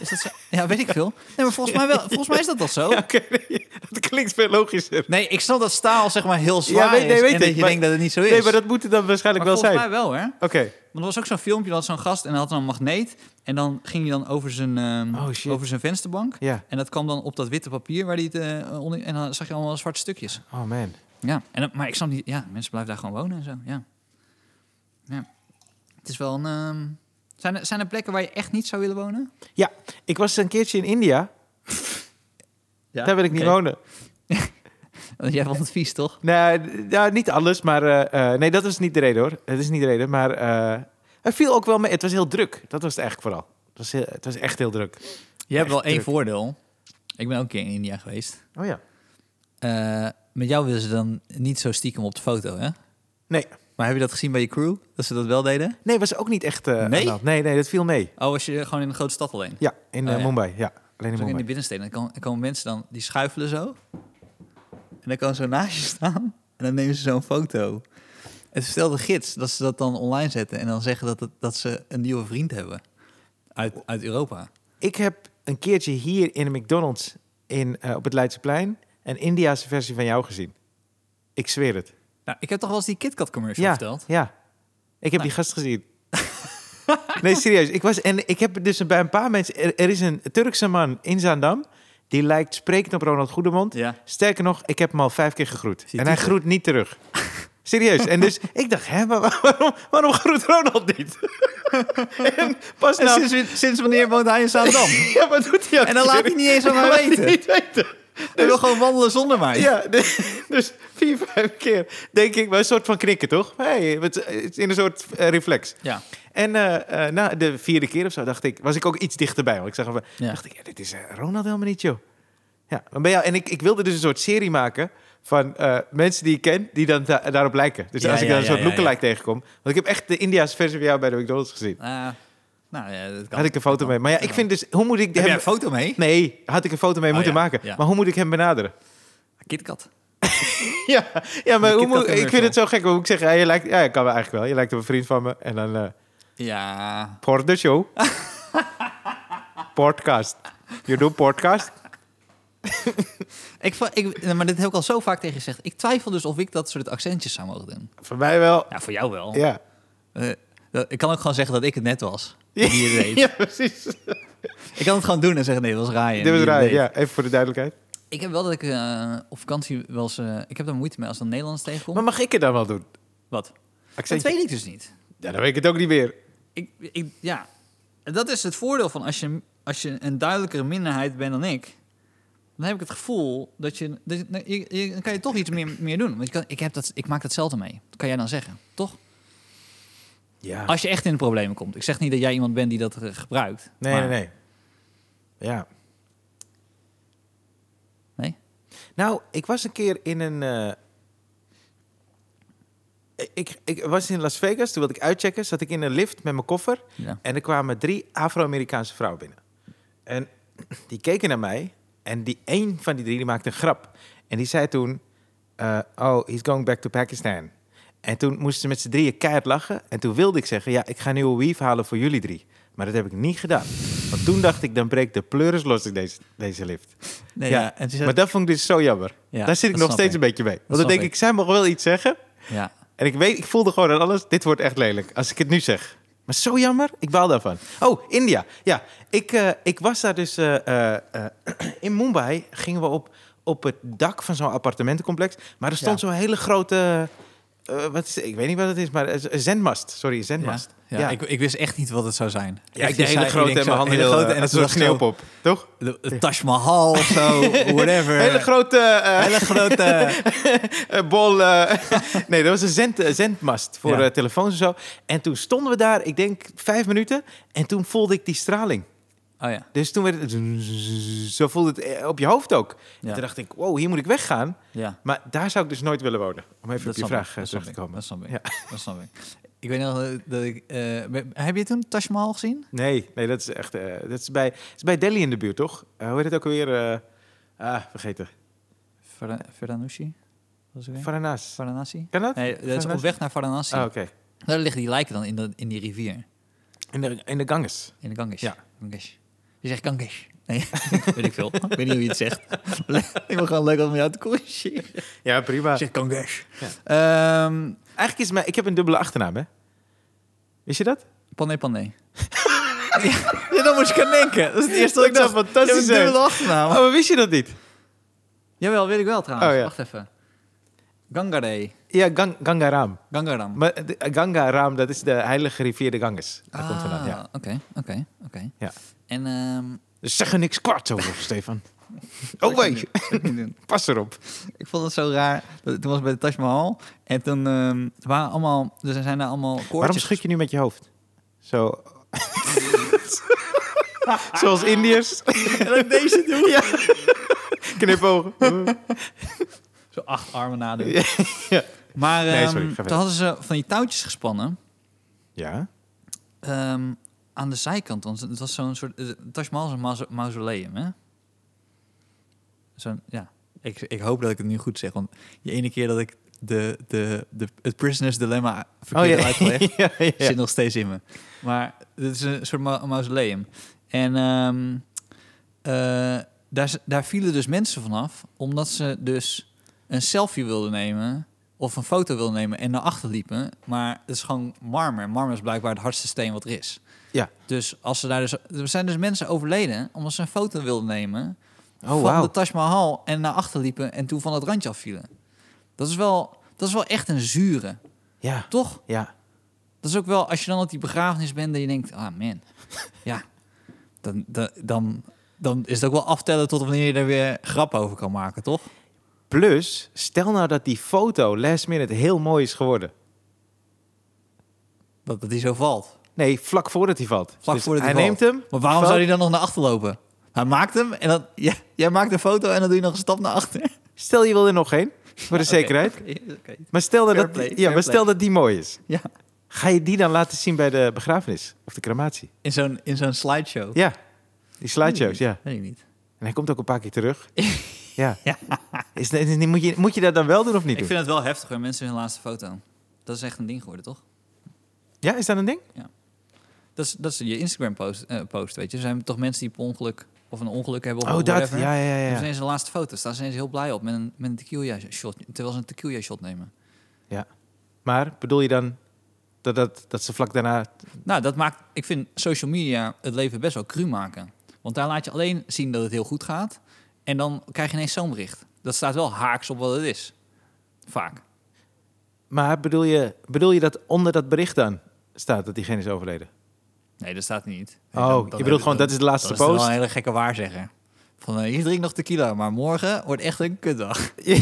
Speaker 2: Is dat zo? *laughs* Ja, weet ik veel. Nee, maar volgens mij,
Speaker 1: *laughs*
Speaker 2: wel, volgens mij is dat al zo.
Speaker 1: Ja, oké. *laughs* dat klinkt veel logischer.
Speaker 2: Nee, ik snap dat staal zeg maar heel zwaar
Speaker 1: weet- nee,
Speaker 2: is
Speaker 1: weet
Speaker 2: en dat
Speaker 1: ik,
Speaker 2: je
Speaker 1: maar-
Speaker 2: denkt dat het niet zo is.
Speaker 1: Nee, maar dat moet het dan waarschijnlijk
Speaker 2: Maar
Speaker 1: wel zijn.
Speaker 2: volgens mij wel, hè?
Speaker 1: Oké.
Speaker 2: Want er was ook zo'n filmpje, dat zo'n gast en hij had een magneet. En dan ging hij dan over zijn, ehm,
Speaker 1: Oh, shit.
Speaker 2: over zijn vensterbank.
Speaker 1: Ja.
Speaker 2: En dat kwam dan op dat witte papier waar hij het eh, onder... En dan zag je allemaal zwarte stukjes.
Speaker 1: Oh man.
Speaker 2: Ja, en, dan- maar ik snap niet... Ja, mensen blijven daar gewoon wonen en zo, ja. Ja. Het is wel een... ehm, zijn, er, zijn er plekken waar je echt niet zou willen wonen?
Speaker 1: Ja, ik was een keertje in India.
Speaker 2: Ja,
Speaker 1: Daar wil ik niet
Speaker 2: oké.
Speaker 1: wonen.
Speaker 2: Want jij vond het vies, toch?
Speaker 1: Nee, d- ja, niet alles, maar... eh, eh, nee, dat is niet de reden, hoor. Dat is niet de reden, maar... eh het viel ook wel mee. Het was heel druk. Dat was het eigenlijk vooral. Het was, heel- het was echt heel druk.
Speaker 2: Je hebt wel
Speaker 1: Echt
Speaker 2: één
Speaker 1: druk.
Speaker 2: voordeel. Ik ben ook een keer in India geweest.
Speaker 1: Oh ja.
Speaker 2: Eh, met jou willen ze dan niet zo stiekem op de foto, hè?
Speaker 1: Nee.
Speaker 2: Maar heb je dat gezien bij je crew? Dat ze dat wel deden?
Speaker 1: Nee, was ook niet echt... eh, aan de hand. nee, nee, dat viel mee.
Speaker 2: Oh, was je gewoon in een grote stad alleen?
Speaker 1: Ja, in
Speaker 2: Oh,
Speaker 1: eh,
Speaker 2: ja.
Speaker 1: Mumbai. Ja, alleen in
Speaker 2: Dus ook in
Speaker 1: Mumbai.
Speaker 2: de binnensteden. Dan komen, dan komen mensen dan, die schuifelen zo. En dan komen ze zo naast je staan. En dan nemen ze zo'n foto. En ze stelt de gids dat ze dat dan online zetten. En dan zeggen dat, het- dat ze een nieuwe vriend hebben. Uit, uit Europa.
Speaker 1: Ik heb een keertje hier in de McDonald's in, eh, op het Leidseplein... een Indiaanse versie van jou gezien. Ik zweer het.
Speaker 2: Nou, ik heb toch wel eens die KitKat commercial
Speaker 1: Ja,
Speaker 2: verteld?
Speaker 1: ja. Ik heb
Speaker 2: Nou.
Speaker 1: die gast gezien. *laughs* nee, serieus. Ik was, en ik heb dus bij een paar mensen... Er, er is een Turkse man in Zaandam... die lijkt sprekend op Ronald Goedemond.
Speaker 2: Ja.
Speaker 1: Sterker nog, ik heb hem al vijf keer gegroet.
Speaker 2: je
Speaker 1: en hij
Speaker 2: type?
Speaker 1: groet niet terug. Serieus. En dus ik dacht, hè, maar waarom, waarom groet Ronald
Speaker 2: *laughs*
Speaker 1: niet? en pas nou-
Speaker 2: En
Speaker 1: na...
Speaker 2: sinds, wi- sinds wanneer woont hij in Zaandam?
Speaker 1: *laughs* Ja, wat doet hij ook
Speaker 2: En dan laat hij niet eens aan
Speaker 1: Dat
Speaker 2: mij
Speaker 1: laat *laughs* hij
Speaker 2: weten.
Speaker 1: niet weten.
Speaker 2: Hij wil gewoon wandelen zonder mij.
Speaker 1: Ja, de- *laughs* dus vier, vijf keer denk ik, maar een soort van knikken, toch? Hey, het het is in een soort eh, reflex.
Speaker 2: Ja.
Speaker 1: En eh, eh, na de vierde keer of zo dacht ik, was ik ook iets dichterbij. Want ik zag, hem-
Speaker 2: Ja.
Speaker 1: dacht ik, ja, dit is eh, Ronald helemaal niet, joh. Ja, dan ben je, en ik, ik wilde dus een soort serie maken van eh, mensen die ik ken, die dan da- daarop lijken. Dus
Speaker 2: Ja,
Speaker 1: als ik
Speaker 2: ja,
Speaker 1: dan een
Speaker 2: ja,
Speaker 1: soort
Speaker 2: ja,
Speaker 1: lookalike tegenkom. Want ik heb echt de Indiaanse versie van jou bij de McDonald's gezien.
Speaker 2: Ah, nou ja, dat kan.
Speaker 1: Had ik een foto mee. Maar ja, ik vind dus, hoe moet ik...
Speaker 2: Heb jij
Speaker 1: hem-
Speaker 2: een foto mee?
Speaker 1: Nee, had ik een foto mee
Speaker 2: Oh,
Speaker 1: moeten
Speaker 2: ja,
Speaker 1: maken.
Speaker 2: ja.
Speaker 1: Maar hoe moet ik hem
Speaker 2: *laughs*
Speaker 1: benaderen?
Speaker 2: KitKat.
Speaker 1: Ja, ja maar hoe
Speaker 2: Die KitKat
Speaker 1: moet, ik
Speaker 2: commercial.
Speaker 1: vind het zo gek. Hoe ik zeg, ja, je lijkt, ja, je kan me eigenlijk wel. Je lijkt op een vriend van me. En dan eh
Speaker 2: Ja.
Speaker 1: voor de
Speaker 2: *laughs*
Speaker 1: show. podcast. Je doet podcast.
Speaker 2: Ik, va- ik, nou, maar dit heb ik al zo vaak tegen je gezegd. Ik twijfel dus of ik dat soort accentjes zou mogen doen.
Speaker 1: Voor mij wel.
Speaker 2: Ja, voor jou wel.
Speaker 1: Ja.
Speaker 2: Eh, dat- ik kan ook gewoon zeggen dat ik het net was. Die het deed.
Speaker 1: *laughs* ja, precies.
Speaker 2: Ik kan het gewoon doen en zeggen, nee, dat was Ryan.
Speaker 1: Dit was
Speaker 2: die het
Speaker 1: raar.
Speaker 2: deed.
Speaker 1: Ja, even voor de duidelijkheid.
Speaker 2: Ik heb wel dat ik eh, op vakantie wel eens... eh, ik heb daar moeite mee als ik dan Nederlands tegenkom.
Speaker 1: Maar mag ik het dan wel doen?
Speaker 2: Wat? Dat
Speaker 1: Accentje.
Speaker 2: weet ik dus niet.
Speaker 1: Ja, dan weet ik het ook niet meer.
Speaker 2: Ik, ik, ja, dat is het voordeel van als je, als je een duidelijkere minderheid bent dan ik... Dan heb ik het gevoel dat je... dat je- je- je- dan kan je toch iets meer, meer doen. Want je kan, ik, heb dat, ik maak datzelfde mee. Dat kan jij dan zeggen, toch?
Speaker 1: Ja.
Speaker 2: Als je echt in de problemen komt. Ik zeg niet dat jij iemand bent die dat eh, gebruikt.
Speaker 1: Nee,
Speaker 2: maar-
Speaker 1: nee, nee. Ja.
Speaker 2: Nee?
Speaker 1: Nou, ik was een keer in een. eh, Ik, ik was in Las Vegas, toen wilde ik uitchecken. Zat ik in een lift met mijn koffer.
Speaker 2: Ja.
Speaker 1: En er kwamen drie Afro-Amerikaanse vrouwen binnen. En *clears throat* die keken naar mij. En die één van die drie die maakte een grap. En die zei toen: eh, Oh, he's going back to Pakistan. En toen moesten ze met z'n drieën keihard lachen. En toen wilde ik zeggen: Ja, ik ga nu een weave halen voor jullie drie. Maar dat heb ik niet gedaan. Want toen dacht ik: Dan breekt de pleuris los in deze, deze lift.
Speaker 2: Nee,
Speaker 1: Ja,
Speaker 2: ja, en toen zei-
Speaker 1: Maar dat vond ik dus zo jammer.
Speaker 2: Ja,
Speaker 1: Daar zit ik
Speaker 2: dat
Speaker 1: nog
Speaker 2: snap
Speaker 1: steeds
Speaker 2: ik.
Speaker 1: een beetje mee. Want dan
Speaker 2: snap
Speaker 1: denk ik.
Speaker 2: ik.
Speaker 1: zij mag wel iets zeggen.
Speaker 2: ja.
Speaker 1: En ik weet, ik voelde gewoon aan alles, dit wordt echt lelijk als ik het nu zeg. Maar zo jammer, ik baal daarvan. Oh, India. Ja, ik, eh, ik was daar dus... eh, eh, eh, *clears throat* in Mumbai gingen we op, op het dak van zo'n appartementencomplex. Maar er stond
Speaker 2: Ja.
Speaker 1: zo'n hele grote... eh, wat is, ik weet niet wat het is, maar eh, een zendmast. Sorry, een zendmast.
Speaker 2: Ja, ja, Ik, ik wist echt niet wat het zou zijn.
Speaker 1: Ja,
Speaker 2: ik
Speaker 1: de
Speaker 2: zei-
Speaker 1: hele
Speaker 2: ik
Speaker 1: grote
Speaker 2: denk
Speaker 1: en mijn
Speaker 2: zo,
Speaker 1: handen
Speaker 2: hele
Speaker 1: heel,
Speaker 2: grote
Speaker 1: eh,
Speaker 2: en
Speaker 1: een
Speaker 2: dat
Speaker 1: soort
Speaker 2: was zo,
Speaker 1: sneeuwpop, toch?
Speaker 2: de- de Taj Mahal of
Speaker 1: *laughs*
Speaker 2: zo, whatever.
Speaker 1: Hele grote eh,
Speaker 2: Hele
Speaker 1: *laughs*
Speaker 2: grote...
Speaker 1: eh, bol. eh, *laughs* nee, dat was een zend, eh, zendmast voor
Speaker 2: Ja.
Speaker 1: eh, telefoons en zo. En toen stonden we daar, ik denk vijf minuten. En toen voelde ik die straling.
Speaker 2: Oh ja,
Speaker 1: Dus toen werd het... Zo voelde het eh, op je hoofd ook. En
Speaker 2: Ja.
Speaker 1: toen dacht ik, wow, hier moet ik weggaan.
Speaker 2: ja.
Speaker 1: Maar daar zou ik dus nooit willen wonen. Om even
Speaker 2: dat
Speaker 1: op je
Speaker 2: snap
Speaker 1: vraag
Speaker 2: ik,
Speaker 1: eh,
Speaker 2: dat snap
Speaker 1: terug te
Speaker 2: ik,
Speaker 1: komen.
Speaker 2: Dat snap ik.
Speaker 1: Ja.
Speaker 2: Dat snap ik. Ik weet nog eh, dat ik... eh, ben- heb je toen Taj Mahal gezien?
Speaker 1: Nee, nee, dat is echt... eh, dat, is bij, dat is bij Delhi in de buurt, toch? Eh, hoe heet het ook alweer? eh, ah, vergeten.
Speaker 2: Vara- Varanasi? Was het weer?
Speaker 1: Varanasi.
Speaker 2: Varanasi?
Speaker 1: Kan dat?
Speaker 2: Nee, dat is
Speaker 1: Varanasi?
Speaker 2: op weg naar Varanasi.
Speaker 1: Ah, oké.
Speaker 2: Daar liggen die lijken dan in, dat- in die rivier.
Speaker 1: In, de, in de Ganges.
Speaker 2: In de Ganges.
Speaker 1: Ja.
Speaker 2: Ganges. Je zegt Ganges. Nee, *laughs* weet ik veel. Ik weet niet hoe je het *laughs* zegt. ik wil gewoon leuk om jou te corrigeren.
Speaker 1: Ja, prima.
Speaker 2: Je zegt Ganges.
Speaker 1: Ja.
Speaker 2: Ehm,
Speaker 1: Eigenlijk is mijn... Ik heb een dubbele achternaam, hè? Wist je dat?
Speaker 2: Pané *laughs* Pané. ja, dan moest ik aan denken. Dat is het eerste wat ik
Speaker 1: Dat zou
Speaker 2: dacht.
Speaker 1: fantastisch
Speaker 2: Je hebt een dubbele
Speaker 1: zijn.
Speaker 2: achternaam.
Speaker 1: Oh, maar wist je dat niet?
Speaker 2: Jawel, weet ik wel trouwens.
Speaker 1: Oh, ja.
Speaker 2: Wacht even. Gangare.
Speaker 1: Ja, Gang, Gangaram.
Speaker 2: Gangaram.
Speaker 1: Maar eh, de, Gangaram, dat is de heilige rivier de Ganges. Daar komt vandaan, ja.
Speaker 2: Ah, Oké, oké, oké.
Speaker 1: Ja.
Speaker 2: En... ehm,
Speaker 1: Dus zeg er niks kwaads over, *laughs* Stefan. Oh,
Speaker 2: wat ik
Speaker 1: wait.
Speaker 2: nu- wat ik nu doe.
Speaker 1: Pas erop.
Speaker 2: Ik vond het zo raar. Dat- Toen was ik bij de Taj Mahal. En toen ehm, waren allemaal... Dus er zijn daar allemaal koortjes.
Speaker 1: Waarom schud je nu met je hoofd? Zo... *laughs* Zoals Indiërs.
Speaker 2: En ook deze doen.
Speaker 1: Knipogen.
Speaker 2: Zo acht armen nadoen.
Speaker 1: Ja.
Speaker 2: Maar
Speaker 1: Nee,
Speaker 2: ehm,
Speaker 1: sorry, ga verder.
Speaker 2: toen hadden ze van die touwtjes gespannen
Speaker 1: Ja.
Speaker 2: ehm, aan de zijkant. Want het was zo'n soort... eh, Taj Mahal is een mauso- mausoleum, hè? Zo'n, ja. Ik, ik hoop dat ik het nu goed zeg. Want de ene keer dat ik de, de, de, het Prisoner's Dilemma verkeerd heb uitgelegd...
Speaker 1: Oh, *laughs* ja, ja, ja.
Speaker 2: zit nog steeds in me. Maar dit is een soort ma- mausoleum. En ehm, eh, daar, z- daar vielen dus mensen vanaf, omdat ze dus een selfie wilden nemen of een foto wilden nemen en naar achter liepen. Maar het is gewoon marmer. Marmer is blijkbaar het hardste steen wat er is.
Speaker 1: Ja.
Speaker 2: Dus als ze daar dus, er zijn dus mensen overleden omdat ze een foto wilden nemen
Speaker 1: Oh,
Speaker 2: van
Speaker 1: wauw.
Speaker 2: de Taj Mahal en naar achter liepen en toen van het randje afvielen. Dat is wel, dat is wel echt een zure,
Speaker 1: Ja.
Speaker 2: toch?
Speaker 1: Ja.
Speaker 2: Dat is ook wel, als je dan op die begrafenis bent en je denkt, ah man, ja, dan, dan, dan, dan is het ook wel aftellen tot wanneer je er weer grap over kan maken, toch?
Speaker 1: Plus, stel nou dat die foto last minute heel mooi is geworden.
Speaker 2: Dat, dat die zo valt.
Speaker 1: Nee, vlak voordat hij valt.
Speaker 2: Vlak
Speaker 1: Dus
Speaker 2: voordat
Speaker 1: hij
Speaker 2: hij
Speaker 1: neemt
Speaker 2: valt.
Speaker 1: hem.
Speaker 2: Maar waarom
Speaker 1: foto-
Speaker 2: zou die dan nog naar achter lopen? Hij maakt hem en dan, ja, jij maakt een foto en dan doe je nog een stap naar achter.
Speaker 1: Stel je wil er nog één, voor de zekerheid.
Speaker 2: *laughs* Oké, oké.
Speaker 1: Maar, stel dat,
Speaker 2: Fair
Speaker 1: dat-
Speaker 2: play,
Speaker 1: ja,
Speaker 2: fair
Speaker 1: maar
Speaker 2: play.
Speaker 1: stel dat die mooi is.
Speaker 2: Ja,
Speaker 1: Ga je die dan laten zien bij de begrafenis of de crematie?
Speaker 2: in zo'n, in zo'n slideshow.
Speaker 1: Ja, die slideshows, ja.
Speaker 2: Weet ik niet.
Speaker 1: En hij komt ook een paar keer terug. Ja.
Speaker 2: Hmm. *laughs* Ja.
Speaker 1: Is, is- is- moet, je, moet je dat dan wel doen of niet
Speaker 2: Ik
Speaker 1: doen?
Speaker 2: vind het wel heftig bij mensen hun laatste foto. Dat is echt een ding geworden, toch?
Speaker 1: Ja, is dat een ding?
Speaker 2: Dat is, dat is je Instagram post, eh, post, weet je. Er zijn toch mensen die per ongeluk of een ongeluk hebben of
Speaker 1: Oh, dat.
Speaker 2: whatever.
Speaker 1: Ja, ja, ja.
Speaker 2: Dat is
Speaker 1: ja.
Speaker 2: ineens de laatste foto. Daar zijn ze ineens heel blij op met een, met een tequila shot. Terwijl ze een tequila shot nemen.
Speaker 1: Maar bedoel je dan dat, dat, dat ze vlak daarna...
Speaker 2: Nou, dat maakt... Ik vind social media het leven best wel cru maken. Want daar laat je alleen zien dat het heel goed gaat. En dan krijg je ineens zo'n bericht. Dat staat wel haaks op wat het is. Vaak.
Speaker 1: Maar bedoel je, bedoel je dat onder dat bericht dan staat dat diegene is overleden?
Speaker 2: Nee, dat staat niet.
Speaker 1: Oh, je bedoelt
Speaker 2: hebben-
Speaker 1: gewoon, dat is de laatste
Speaker 2: Dat is
Speaker 1: post?
Speaker 2: wel een hele gekke waarzegger. Van, eh, je drinkt nog tequila, maar morgen wordt echt een kutdag.
Speaker 1: *laughs*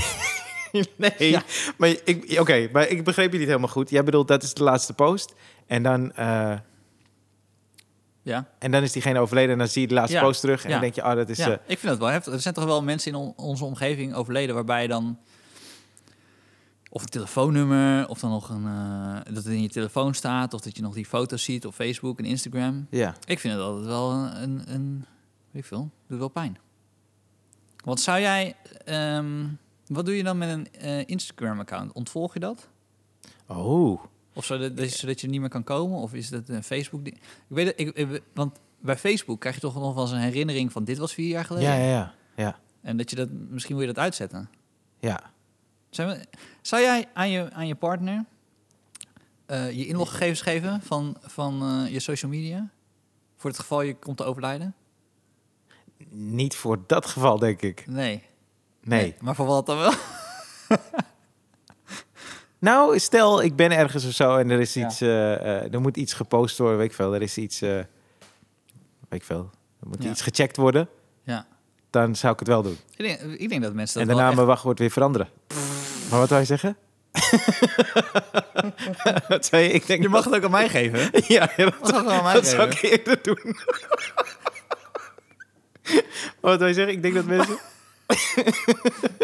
Speaker 1: nee.
Speaker 2: Ja.
Speaker 1: Maar ik, oké, maar ik begreep je niet helemaal goed. Jij bedoelt dat is de laatste post en dan... eh,
Speaker 2: Ja,
Speaker 1: en dan is diegene overleden en dan zie je de laatste
Speaker 2: Ja,
Speaker 1: post terug. En
Speaker 2: ja.
Speaker 1: dan denk je, oh, dat is...
Speaker 2: ja
Speaker 1: eh,
Speaker 2: ik vind dat wel heftig. Er zijn toch wel mensen in on- onze omgeving overleden waarbij je dan of een telefoonnummer of dan nog een eh, dat het in je telefoon staat of dat je nog die foto's ziet op Facebook en Instagram.
Speaker 1: ja.
Speaker 2: Ik vind het altijd wel een, een weet ik veel, doet wel pijn. Wat zou jij, ehm, wat doe je dan met een eh, Instagram account? Ontvolg je dat?
Speaker 1: Oh,
Speaker 2: Of zodat, dat- zodat je niet meer kan komen? Of is dat een Facebook? ding? Ik weet het, ik, ik- want bij Facebook krijg je toch nog wel eens een herinnering van dit was vier jaar geleden.
Speaker 1: ja, ja, ja. Ja,
Speaker 2: En dat je dat, misschien wil je dat uitzetten.
Speaker 1: ja.
Speaker 2: Zijn we, zou jij aan je, aan je partner eh, je inloggegevens geven van, van eh, je social media? Voor het geval je komt te overlijden?
Speaker 1: Niet voor dat geval, denk ik.
Speaker 2: Nee.
Speaker 1: Nee.
Speaker 2: Maar voor wat dan wel? *laughs*
Speaker 1: Nou, stel ik ben ergens of zo en er is
Speaker 2: Ja.
Speaker 1: iets, eh, eh, er moet iets gepost worden, weet ik veel. Er is iets, eh, weet ik veel. Er moet
Speaker 2: Ja.
Speaker 1: iets gecheckt worden.
Speaker 2: Ja.
Speaker 1: Dan zou ik het wel doen.
Speaker 2: Ik denk, ik denk dat mensen
Speaker 1: en daarna
Speaker 2: dat wel echt-
Speaker 1: mijn wachtwoord weer veranderen. Maar wat wou je *laughs* zeggen? wat zei je? Ik denk
Speaker 2: Je mag het ook aan mij geven.
Speaker 1: *laughs* ja, ja, dat,
Speaker 2: *laughs* Wat zou ik aan mij
Speaker 1: *laughs* dat zou ik
Speaker 2: geven?
Speaker 1: eerder doen. *laughs* Maar wat wil je zeggen? Ik denk dat mensen...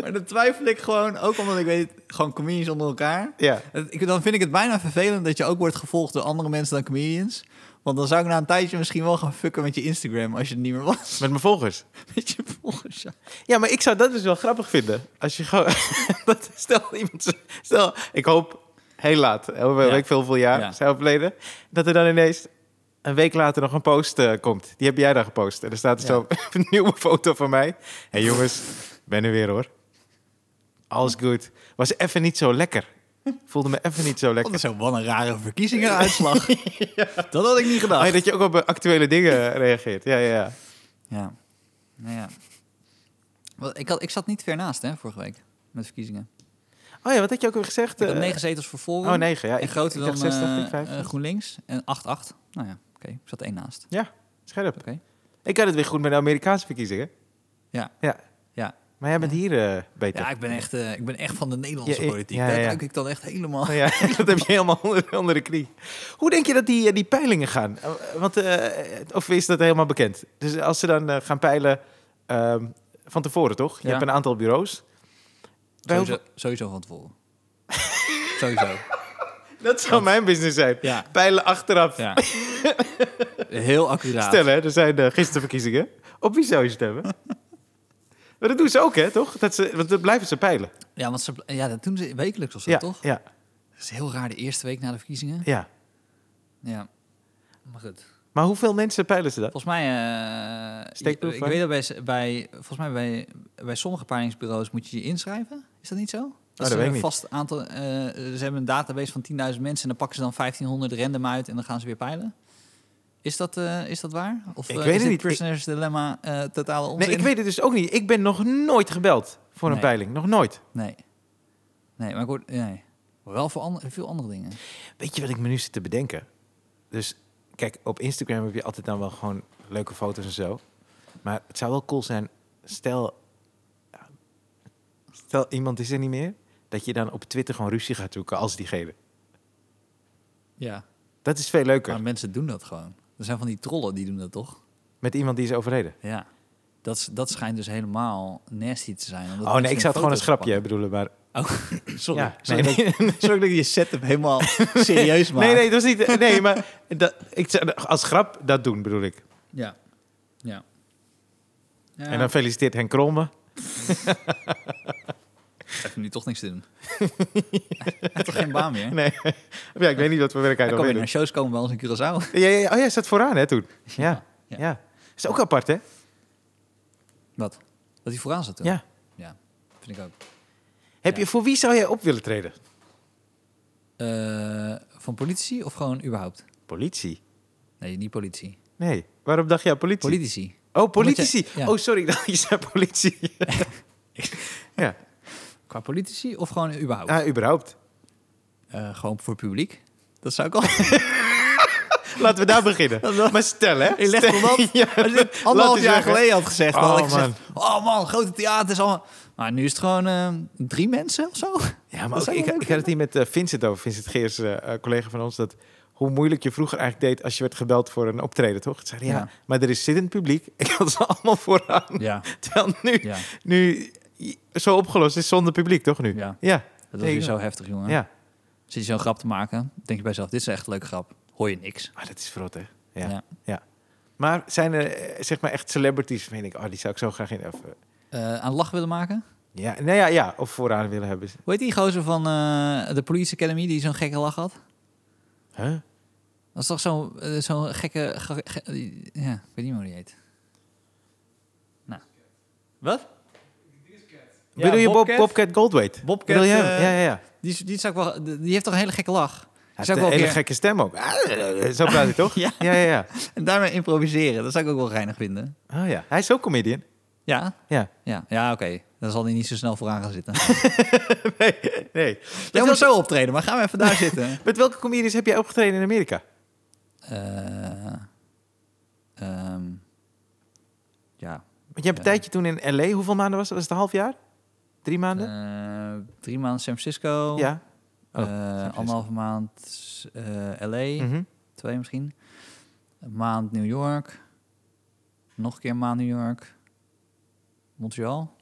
Speaker 2: Maar dan twijfel ik gewoon, ook omdat ik weet, gewoon comedians onder elkaar.
Speaker 1: Ja.
Speaker 2: Het- ik- Dan vind ik het bijna vervelend dat je ook wordt gevolgd door andere mensen dan comedians. Want dan zou ik na een tijdje misschien wel gaan fucken met je Instagram als je het niet meer was. *laughs*
Speaker 1: Met mijn volgers.
Speaker 2: Met je volgers. ja.
Speaker 1: Ja, maar ik zou dat dus wel grappig vinden. Als je gewoon... *laughs* dat, stel, iemand... z- Stel, ik hoop heel laat, heel,
Speaker 2: Ja.
Speaker 1: weet ik veel, hoeveel jaar,
Speaker 2: Ja.
Speaker 1: zijn overleden. Dat er dan ineens een week later nog een post eh, komt. Die heb jij daar gepost. En er staat er
Speaker 2: Ja.
Speaker 1: zo een *laughs* nieuwe foto van mij. Hé
Speaker 2: *laughs*
Speaker 1: hey, jongens, ik ben er weer hoor. Alles goed. Was even niet zo lekker. Voelde me even niet zo
Speaker 2: Oh,
Speaker 1: lekker.
Speaker 2: dat is ook wel een
Speaker 1: *laughs*
Speaker 2: rare verkiezingenuitslag. Dat had ik niet
Speaker 1: Oh,
Speaker 2: gedacht.
Speaker 1: ja, dat je ook op eh, actuele dingen *laughs* reageert. Ja, ja, ja.
Speaker 2: Ja. Nou ja. Wel, Ik, had, ik zat niet ver naast, hè, vorige week. Met verkiezingen.
Speaker 1: Oh ja, wat had je ook weer gezegd?
Speaker 2: Ik had
Speaker 1: eh,
Speaker 2: negen zetels voor Forum.
Speaker 1: Oh, negen, ja.
Speaker 2: En
Speaker 1: Ik-
Speaker 2: groter
Speaker 1: ik
Speaker 2: dan
Speaker 1: dacht 60,
Speaker 2: eh,
Speaker 1: ik 50.
Speaker 2: eh, GroenLinks. En 8-8. Nou ja, oké. Ik zat één naast.
Speaker 1: Scherp.
Speaker 2: Oké.
Speaker 1: Ik had het weer goed met de Amerikaanse verkiezingen.
Speaker 2: Ja.
Speaker 1: Ja.
Speaker 2: Ja.
Speaker 1: Maar jij bent hier eh, beter.
Speaker 2: Ja, ik ben echt, eh, ik ben echt van de Nederlandse
Speaker 1: Ja, ik-
Speaker 2: politiek.
Speaker 1: ja,
Speaker 2: Daar
Speaker 1: ja.
Speaker 2: ruik ik dan echt helemaal...
Speaker 1: Oh *laughs* ja, *laughs* dat heb je helemaal onder, onder de knie. Hoe denk je dat die, eh, die peilingen gaan? Eh, Want, eh, of is dat helemaal bekend? Dus als ze dan eh, gaan peilen ehm, van tevoren, toch? Je
Speaker 2: Ja.
Speaker 1: hebt een aantal bureaus.
Speaker 2: Sowieso, sowieso van tevoren. *laughs* sowieso.
Speaker 1: Dat zou mijn business zijn.
Speaker 2: Ja.
Speaker 1: Pijlen achteraf. *laughs*
Speaker 2: Ja. Heel accuraat.
Speaker 1: Stel hè, er zijn eh gisteren verkiezingen. Op wie zou je stemmen? *laughs* maar dat doen ze ook, hè, toch? Dat ze, want dat blijven ze peilen.
Speaker 2: Ja, want ze, ja, dat doen ze wekelijks of zo,
Speaker 1: ja,
Speaker 2: toch?
Speaker 1: Ja,
Speaker 2: Dat is heel raar, de eerste week na de verkiezingen.
Speaker 1: ja.
Speaker 2: Ja. Maar goed.
Speaker 1: Maar hoeveel mensen peilen ze dat?
Speaker 2: Volgens mij... eh,
Speaker 1: Steekproef,
Speaker 2: ik
Speaker 1: hè?
Speaker 2: weet dat bij, s- bij, volgens mij bij, bij sommige peilingsbureaus moet je je inschrijven. Is dat niet zo?
Speaker 1: Nou, dat
Speaker 2: ze
Speaker 1: weet ik
Speaker 2: een
Speaker 1: niet.
Speaker 2: vast aantal... eh, ze hebben een database van 10.000 mensen en dan pakken ze dan 1500 random uit en dan gaan ze weer peilen. Is dat, eh, is dat waar? Of
Speaker 1: Ik
Speaker 2: eh,
Speaker 1: weet het
Speaker 2: is dit
Speaker 1: niet. Ik-
Speaker 2: Prisoner's Dilemma eh, totale onzin?
Speaker 1: Nee, ik weet het dus ook niet. Ik ben nog nooit gebeld voor een
Speaker 2: Nee.
Speaker 1: peiling. Nog nooit.
Speaker 2: Nee. Nee, maar ik hoor... Nee. Wel voor ander- veel andere dingen.
Speaker 1: Weet je wat ik me nu zit te bedenken? Dus kijk, op Instagram heb je altijd dan wel gewoon leuke foto's en zo. Maar het zou wel cool zijn, stel, stel iemand is er niet meer, dat je dan op Twitter gewoon ruzie gaat zoeken als diegene.
Speaker 2: Ja.
Speaker 1: Dat is veel leuker.
Speaker 2: Maar mensen doen dat gewoon. Er zijn van die trollen die doen dat toch?
Speaker 1: Met iemand die is overleden.
Speaker 2: Ja. Dat, is- dat schijnt dus helemaal nasty te zijn. omdat
Speaker 1: oh nee,
Speaker 2: mensen
Speaker 1: ik zou het gewoon als
Speaker 2: foto's
Speaker 1: grapje bedoelen, maar...
Speaker 2: pakken. Sorry.
Speaker 1: Ja,
Speaker 2: sorry,
Speaker 1: nee,
Speaker 2: dat, ik- *laughs* sorry dat ik je setup helemaal serieus maak.
Speaker 1: *laughs* Nee, nee, dat is niet... Nee, maar dat, ik, zou als grap dat doen, bedoel ik.
Speaker 2: Ja. Ja. ja.
Speaker 1: En dan feliciteert Henk Krol me.
Speaker 2: heeft nu toch niks te
Speaker 1: *laughs*
Speaker 2: doen. *laughs* Hij heeft toch geen baan meer?
Speaker 1: Nee. *laughs* Of Ja, ik weet niet wat voor werk hij
Speaker 2: Hij
Speaker 1: nog
Speaker 2: kan weer
Speaker 1: weer
Speaker 2: naar
Speaker 1: doet.
Speaker 2: shows komen bij ons in Curaçao.
Speaker 1: Ja, ja, ja. Oh ja, hij staat vooraan, hè, toen. Ja,
Speaker 2: Ja.
Speaker 1: ja. Is ook apart, hè?
Speaker 2: Wat? Dat hij vooraan zat toen?
Speaker 1: Ja.
Speaker 2: Ja, vind ik ook.
Speaker 1: Heb je, voor wie zou jij op willen treden?
Speaker 2: Eh, van politici of gewoon überhaupt?
Speaker 1: Politie.
Speaker 2: Nee, niet politie.
Speaker 1: Nee. Waarom dacht jij politie?
Speaker 2: Politici.
Speaker 1: oh, politici.
Speaker 2: Omdat je- ja.
Speaker 1: Oh, sorry, ik dacht je zei
Speaker 2: *laughs*
Speaker 1: politie. ja,
Speaker 2: Qua politici of gewoon überhaupt?
Speaker 1: ah, überhaupt.
Speaker 2: Eh, gewoon voor publiek. Dat zou ik al...
Speaker 1: Laten we
Speaker 2: *laughs*
Speaker 1: daar beginnen. Maar stel, hè?
Speaker 2: In
Speaker 1: Stel- *laughs*
Speaker 2: Leggerland?
Speaker 1: Ja,
Speaker 2: Als je het
Speaker 1: laat
Speaker 2: anderhalf
Speaker 1: eens
Speaker 2: jaar
Speaker 1: zeggen.
Speaker 2: geleden had gezegd, dan had ik
Speaker 1: Oh,
Speaker 2: gezegd... Oh man, grote theaters, allemaal... Maar nu is het gewoon eh, drie mensen of
Speaker 1: *laughs*
Speaker 2: zo.
Speaker 1: Ja, maar
Speaker 2: Dat
Speaker 1: ook,
Speaker 2: zou
Speaker 1: ik,
Speaker 2: wel leuk
Speaker 1: ik had het hier met eh, Vincent over, Vincent Geers, eh, eh, collega van ons, dat hoe moeilijk je vroeger eigenlijk deed als je werd gebeld voor een optreden, toch? Het zeiden, ja,
Speaker 2: Ja.
Speaker 1: maar er is zittend publiek. *laughs* Ik had ze allemaal vooraan.
Speaker 2: Ja,
Speaker 1: *laughs* Terwijl nu,
Speaker 2: ja.
Speaker 1: nu zo opgelost is zonder publiek, toch nu?
Speaker 2: Ja.
Speaker 1: Ja.
Speaker 2: Dat was weer zo heftig, jongen.
Speaker 1: ja.
Speaker 2: Zit je zo'n grap te maken, denk je bij jezelf... Dit is echt een leuke grap. Hoor je niks.
Speaker 1: Ah, dat is verrot, hè? Ja.
Speaker 2: Ja.
Speaker 1: ja. Maar zijn er eh, zeg maar echt celebrities waarvan je denkt, oh, die zou ik zo graag in... Of, eh,
Speaker 2: Eh, aan lach willen maken?
Speaker 1: ja, nou ja, ja, of vooraan willen hebben.
Speaker 2: Hoe heet die gozer van eh, de Police Academy die zo'n gekke lach had?
Speaker 1: Huh?
Speaker 2: Dat is toch zo'n eh, zo'n gekke... ge- ge- ja, ik weet niet meer hoe die heet. Nou. Wat? Ja,
Speaker 1: Bedoel je Bob,
Speaker 2: Bobcat?
Speaker 1: Bobcat Goldthwait?
Speaker 2: Bobcat,
Speaker 1: Bedoel je hem?
Speaker 2: eh,
Speaker 1: ja, ja, ja.
Speaker 2: Die, is- die, zou ik wel, die heeft toch een hele gekke lach?
Speaker 1: Hij
Speaker 2: Zou ik
Speaker 1: heeft een
Speaker 2: wel een
Speaker 1: hele
Speaker 2: keer-
Speaker 1: gekke stem ook. Ah, Zo praat hij toch?
Speaker 2: *laughs* Ja.
Speaker 1: ja, ja, ja.
Speaker 2: En *laughs* daarmee improviseren, dat zou ik ook wel geinig vinden.
Speaker 1: Oh ja, hij is ook comedian. *laughs*
Speaker 2: Ja?
Speaker 1: Ja.
Speaker 2: Ja, ja oké. Dan zal hij niet zo snel vooraan gaan
Speaker 1: *laughs*
Speaker 2: zitten.
Speaker 1: Nee, nee.
Speaker 2: Jij moet zo optreden, maar gaan we even
Speaker 1: *laughs*
Speaker 2: daar zitten.
Speaker 1: Met welke comedians heb jij opgetreden in Amerika?
Speaker 2: Eh, ehm, ja.
Speaker 1: Want je hebt een tijdje toen in L.A. Hoeveel maanden was dat? Was het een half jaar? Drie maanden?
Speaker 2: Eh, drie maanden San Francisco.
Speaker 1: ja. Oh,
Speaker 2: Eh,
Speaker 1: San Francisco.
Speaker 2: anderhalve maand eh, LA.
Speaker 1: Mhm.
Speaker 2: Twee misschien. Een maand New York. Nog een keer een maand New York. Montreal.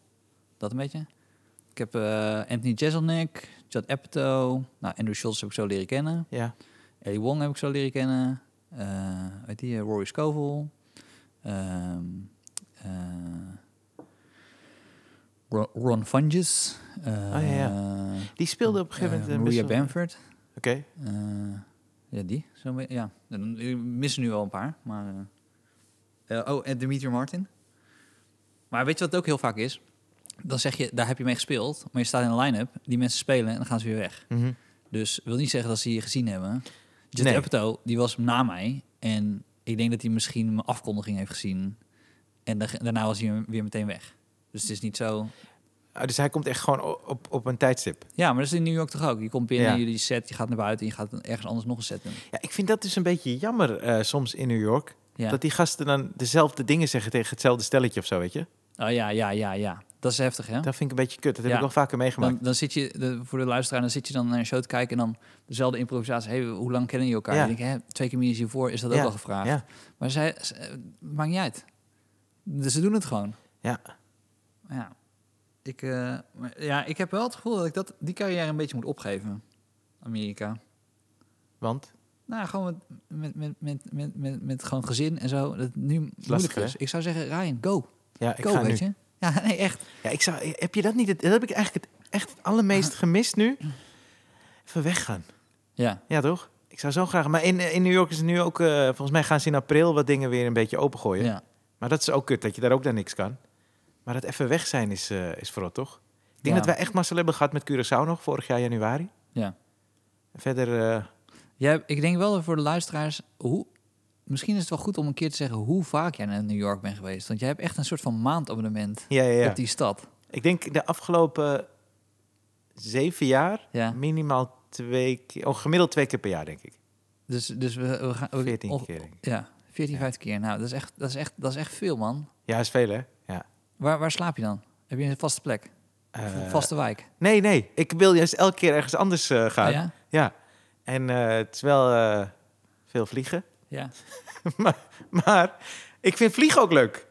Speaker 2: Dat een beetje. Ik heb eh, Anthony Jeselnik, Judd Apatow. Nou, Andrew Schultz heb ik zo leren kennen.
Speaker 1: Ja.
Speaker 2: Ellie Wong heb ik zo leren kennen. Eh weet die, eh, Rory Scovel. Ehm, eh, Ro- Ron Funges. Eh,
Speaker 1: Ah, ja, ja. Die speelde op een gegeven
Speaker 2: eh,
Speaker 1: moment... eh,
Speaker 2: Maria
Speaker 1: best wel-
Speaker 2: Bamford.
Speaker 1: Oké.
Speaker 2: Eh, ja, die. Zo mee- ja. Dan- Ik mis er nu wel een paar. Maar, eh, eh, oh, en Dimitri Martin. Maar weet je wat het ook heel vaak is? Dan zeg je, daar heb je mee gespeeld. Maar je staat in een line-up. Die mensen spelen en dan gaan ze weer weg.
Speaker 1: Mhm.
Speaker 2: Dus wil niet zeggen dat ze je gezien hebben. Judd
Speaker 1: Nee.
Speaker 2: Apatow, die was na mij. En ik denk dat hij misschien mijn afkondiging heeft gezien. En da- daarna was hij weer meteen weg. Dus het is niet zo...
Speaker 1: Ah, dus hij komt echt gewoon o- op, op een tijdstip.
Speaker 2: Ja, maar dat is in New York toch ook. Je komt binnen,
Speaker 1: Ja.
Speaker 2: jullie set, je gaat naar buiten... en je gaat ergens anders nog een set doen.
Speaker 1: Ja, ik vind dat dus een beetje jammer eh, soms in New York.
Speaker 2: Ja.
Speaker 1: Dat die gasten dan dezelfde dingen zeggen tegen hetzelfde stelletje of zo, weet je?
Speaker 2: Oh ja, ja, ja, ja. Dat is heftig, hè?
Speaker 1: Dat vind ik een beetje kut. Dat heb
Speaker 2: Ja.
Speaker 1: ik wel vaker meegemaakt.
Speaker 2: Dan, dan zit je, de- voor de luisteraar, dan zit je dan naar een show te kijken... en dan dezelfde improvisatie. Hey, hoe lang kennen jullie elkaar?
Speaker 1: Ja.
Speaker 2: Je denkt, hè, twee keer meer hiervoor is dat ook
Speaker 1: Ja,
Speaker 2: al gevraagd.
Speaker 1: ja.
Speaker 2: Maar zij, ze- eh, maakt niet uit. Dus ze doen het gewoon.
Speaker 1: Ja.
Speaker 2: Ja. Ik, Ik, eh, maar ja, ik heb wel het gevoel dat ik dat, die carrière een beetje moet opgeven. Amerika.
Speaker 1: Want
Speaker 2: Nou, gewoon met, met, met, met, met, met, met gewoon gezin en zo. Dat het nu moeilijk
Speaker 1: lastig,
Speaker 2: is. Ik zou zeggen, Ryan, go.
Speaker 1: ja, ik
Speaker 2: go,
Speaker 1: ga nu.
Speaker 2: weet je. Ja, *laughs* nee, echt.
Speaker 1: Ja, ik zou, heb je dat niet? Dat heb ik eigenlijk het, echt het
Speaker 2: *laughs*
Speaker 1: allermeest gemist nu. Even weggaan.
Speaker 2: Ja.
Speaker 1: Ja, toch? Ik zou zo graag. Maar in, in New York is het nu ook. eh, volgens mij gaan ze in april wat dingen weer een beetje opengooien.
Speaker 2: ja.
Speaker 1: Maar dat is ook kut, dat je daar ook dan niks kan. Maar dat even weg zijn is, eh is vooral toch? Ik denk
Speaker 2: Ja.
Speaker 1: dat wij echt mazzel hebben gehad met Curaçao nog vorig jaar januari.
Speaker 2: Ja.
Speaker 1: Verder, eh,
Speaker 2: Jij, ik denk wel voor de luisteraars, hoe, misschien is het wel goed om een keer te zeggen hoe vaak jij naar New York bent geweest. Want jij hebt echt een soort van maandabonnement
Speaker 1: ja, ja, ja.
Speaker 2: op die stad.
Speaker 1: Ik denk de afgelopen zeven jaar
Speaker 2: Ja.
Speaker 1: minimaal twee keer, oh, gemiddeld twee keer per jaar, denk ik.
Speaker 2: Dus, dus we, we gaan... we-
Speaker 1: 14
Speaker 2: of-
Speaker 1: keer, denk ik.
Speaker 2: Ja, 14,
Speaker 1: Ja.
Speaker 2: 15 keer. Nou, dat is echt, dat is echt, dat is echt veel, man.
Speaker 1: Ja, is veel, hè? Ja.
Speaker 2: Waar, waar slaap je dan? Heb je een vaste plek? Of een
Speaker 1: Eh,
Speaker 2: vaste wijk?
Speaker 1: Nee, nee. Ik wil juist elke keer ergens anders eh, gaan.
Speaker 2: Ah,
Speaker 1: ja?
Speaker 2: ja?
Speaker 1: En eh, het is wel eh, veel vliegen. *laughs*
Speaker 2: Ja,
Speaker 1: maar, maar ik vind vliegen ook leuk.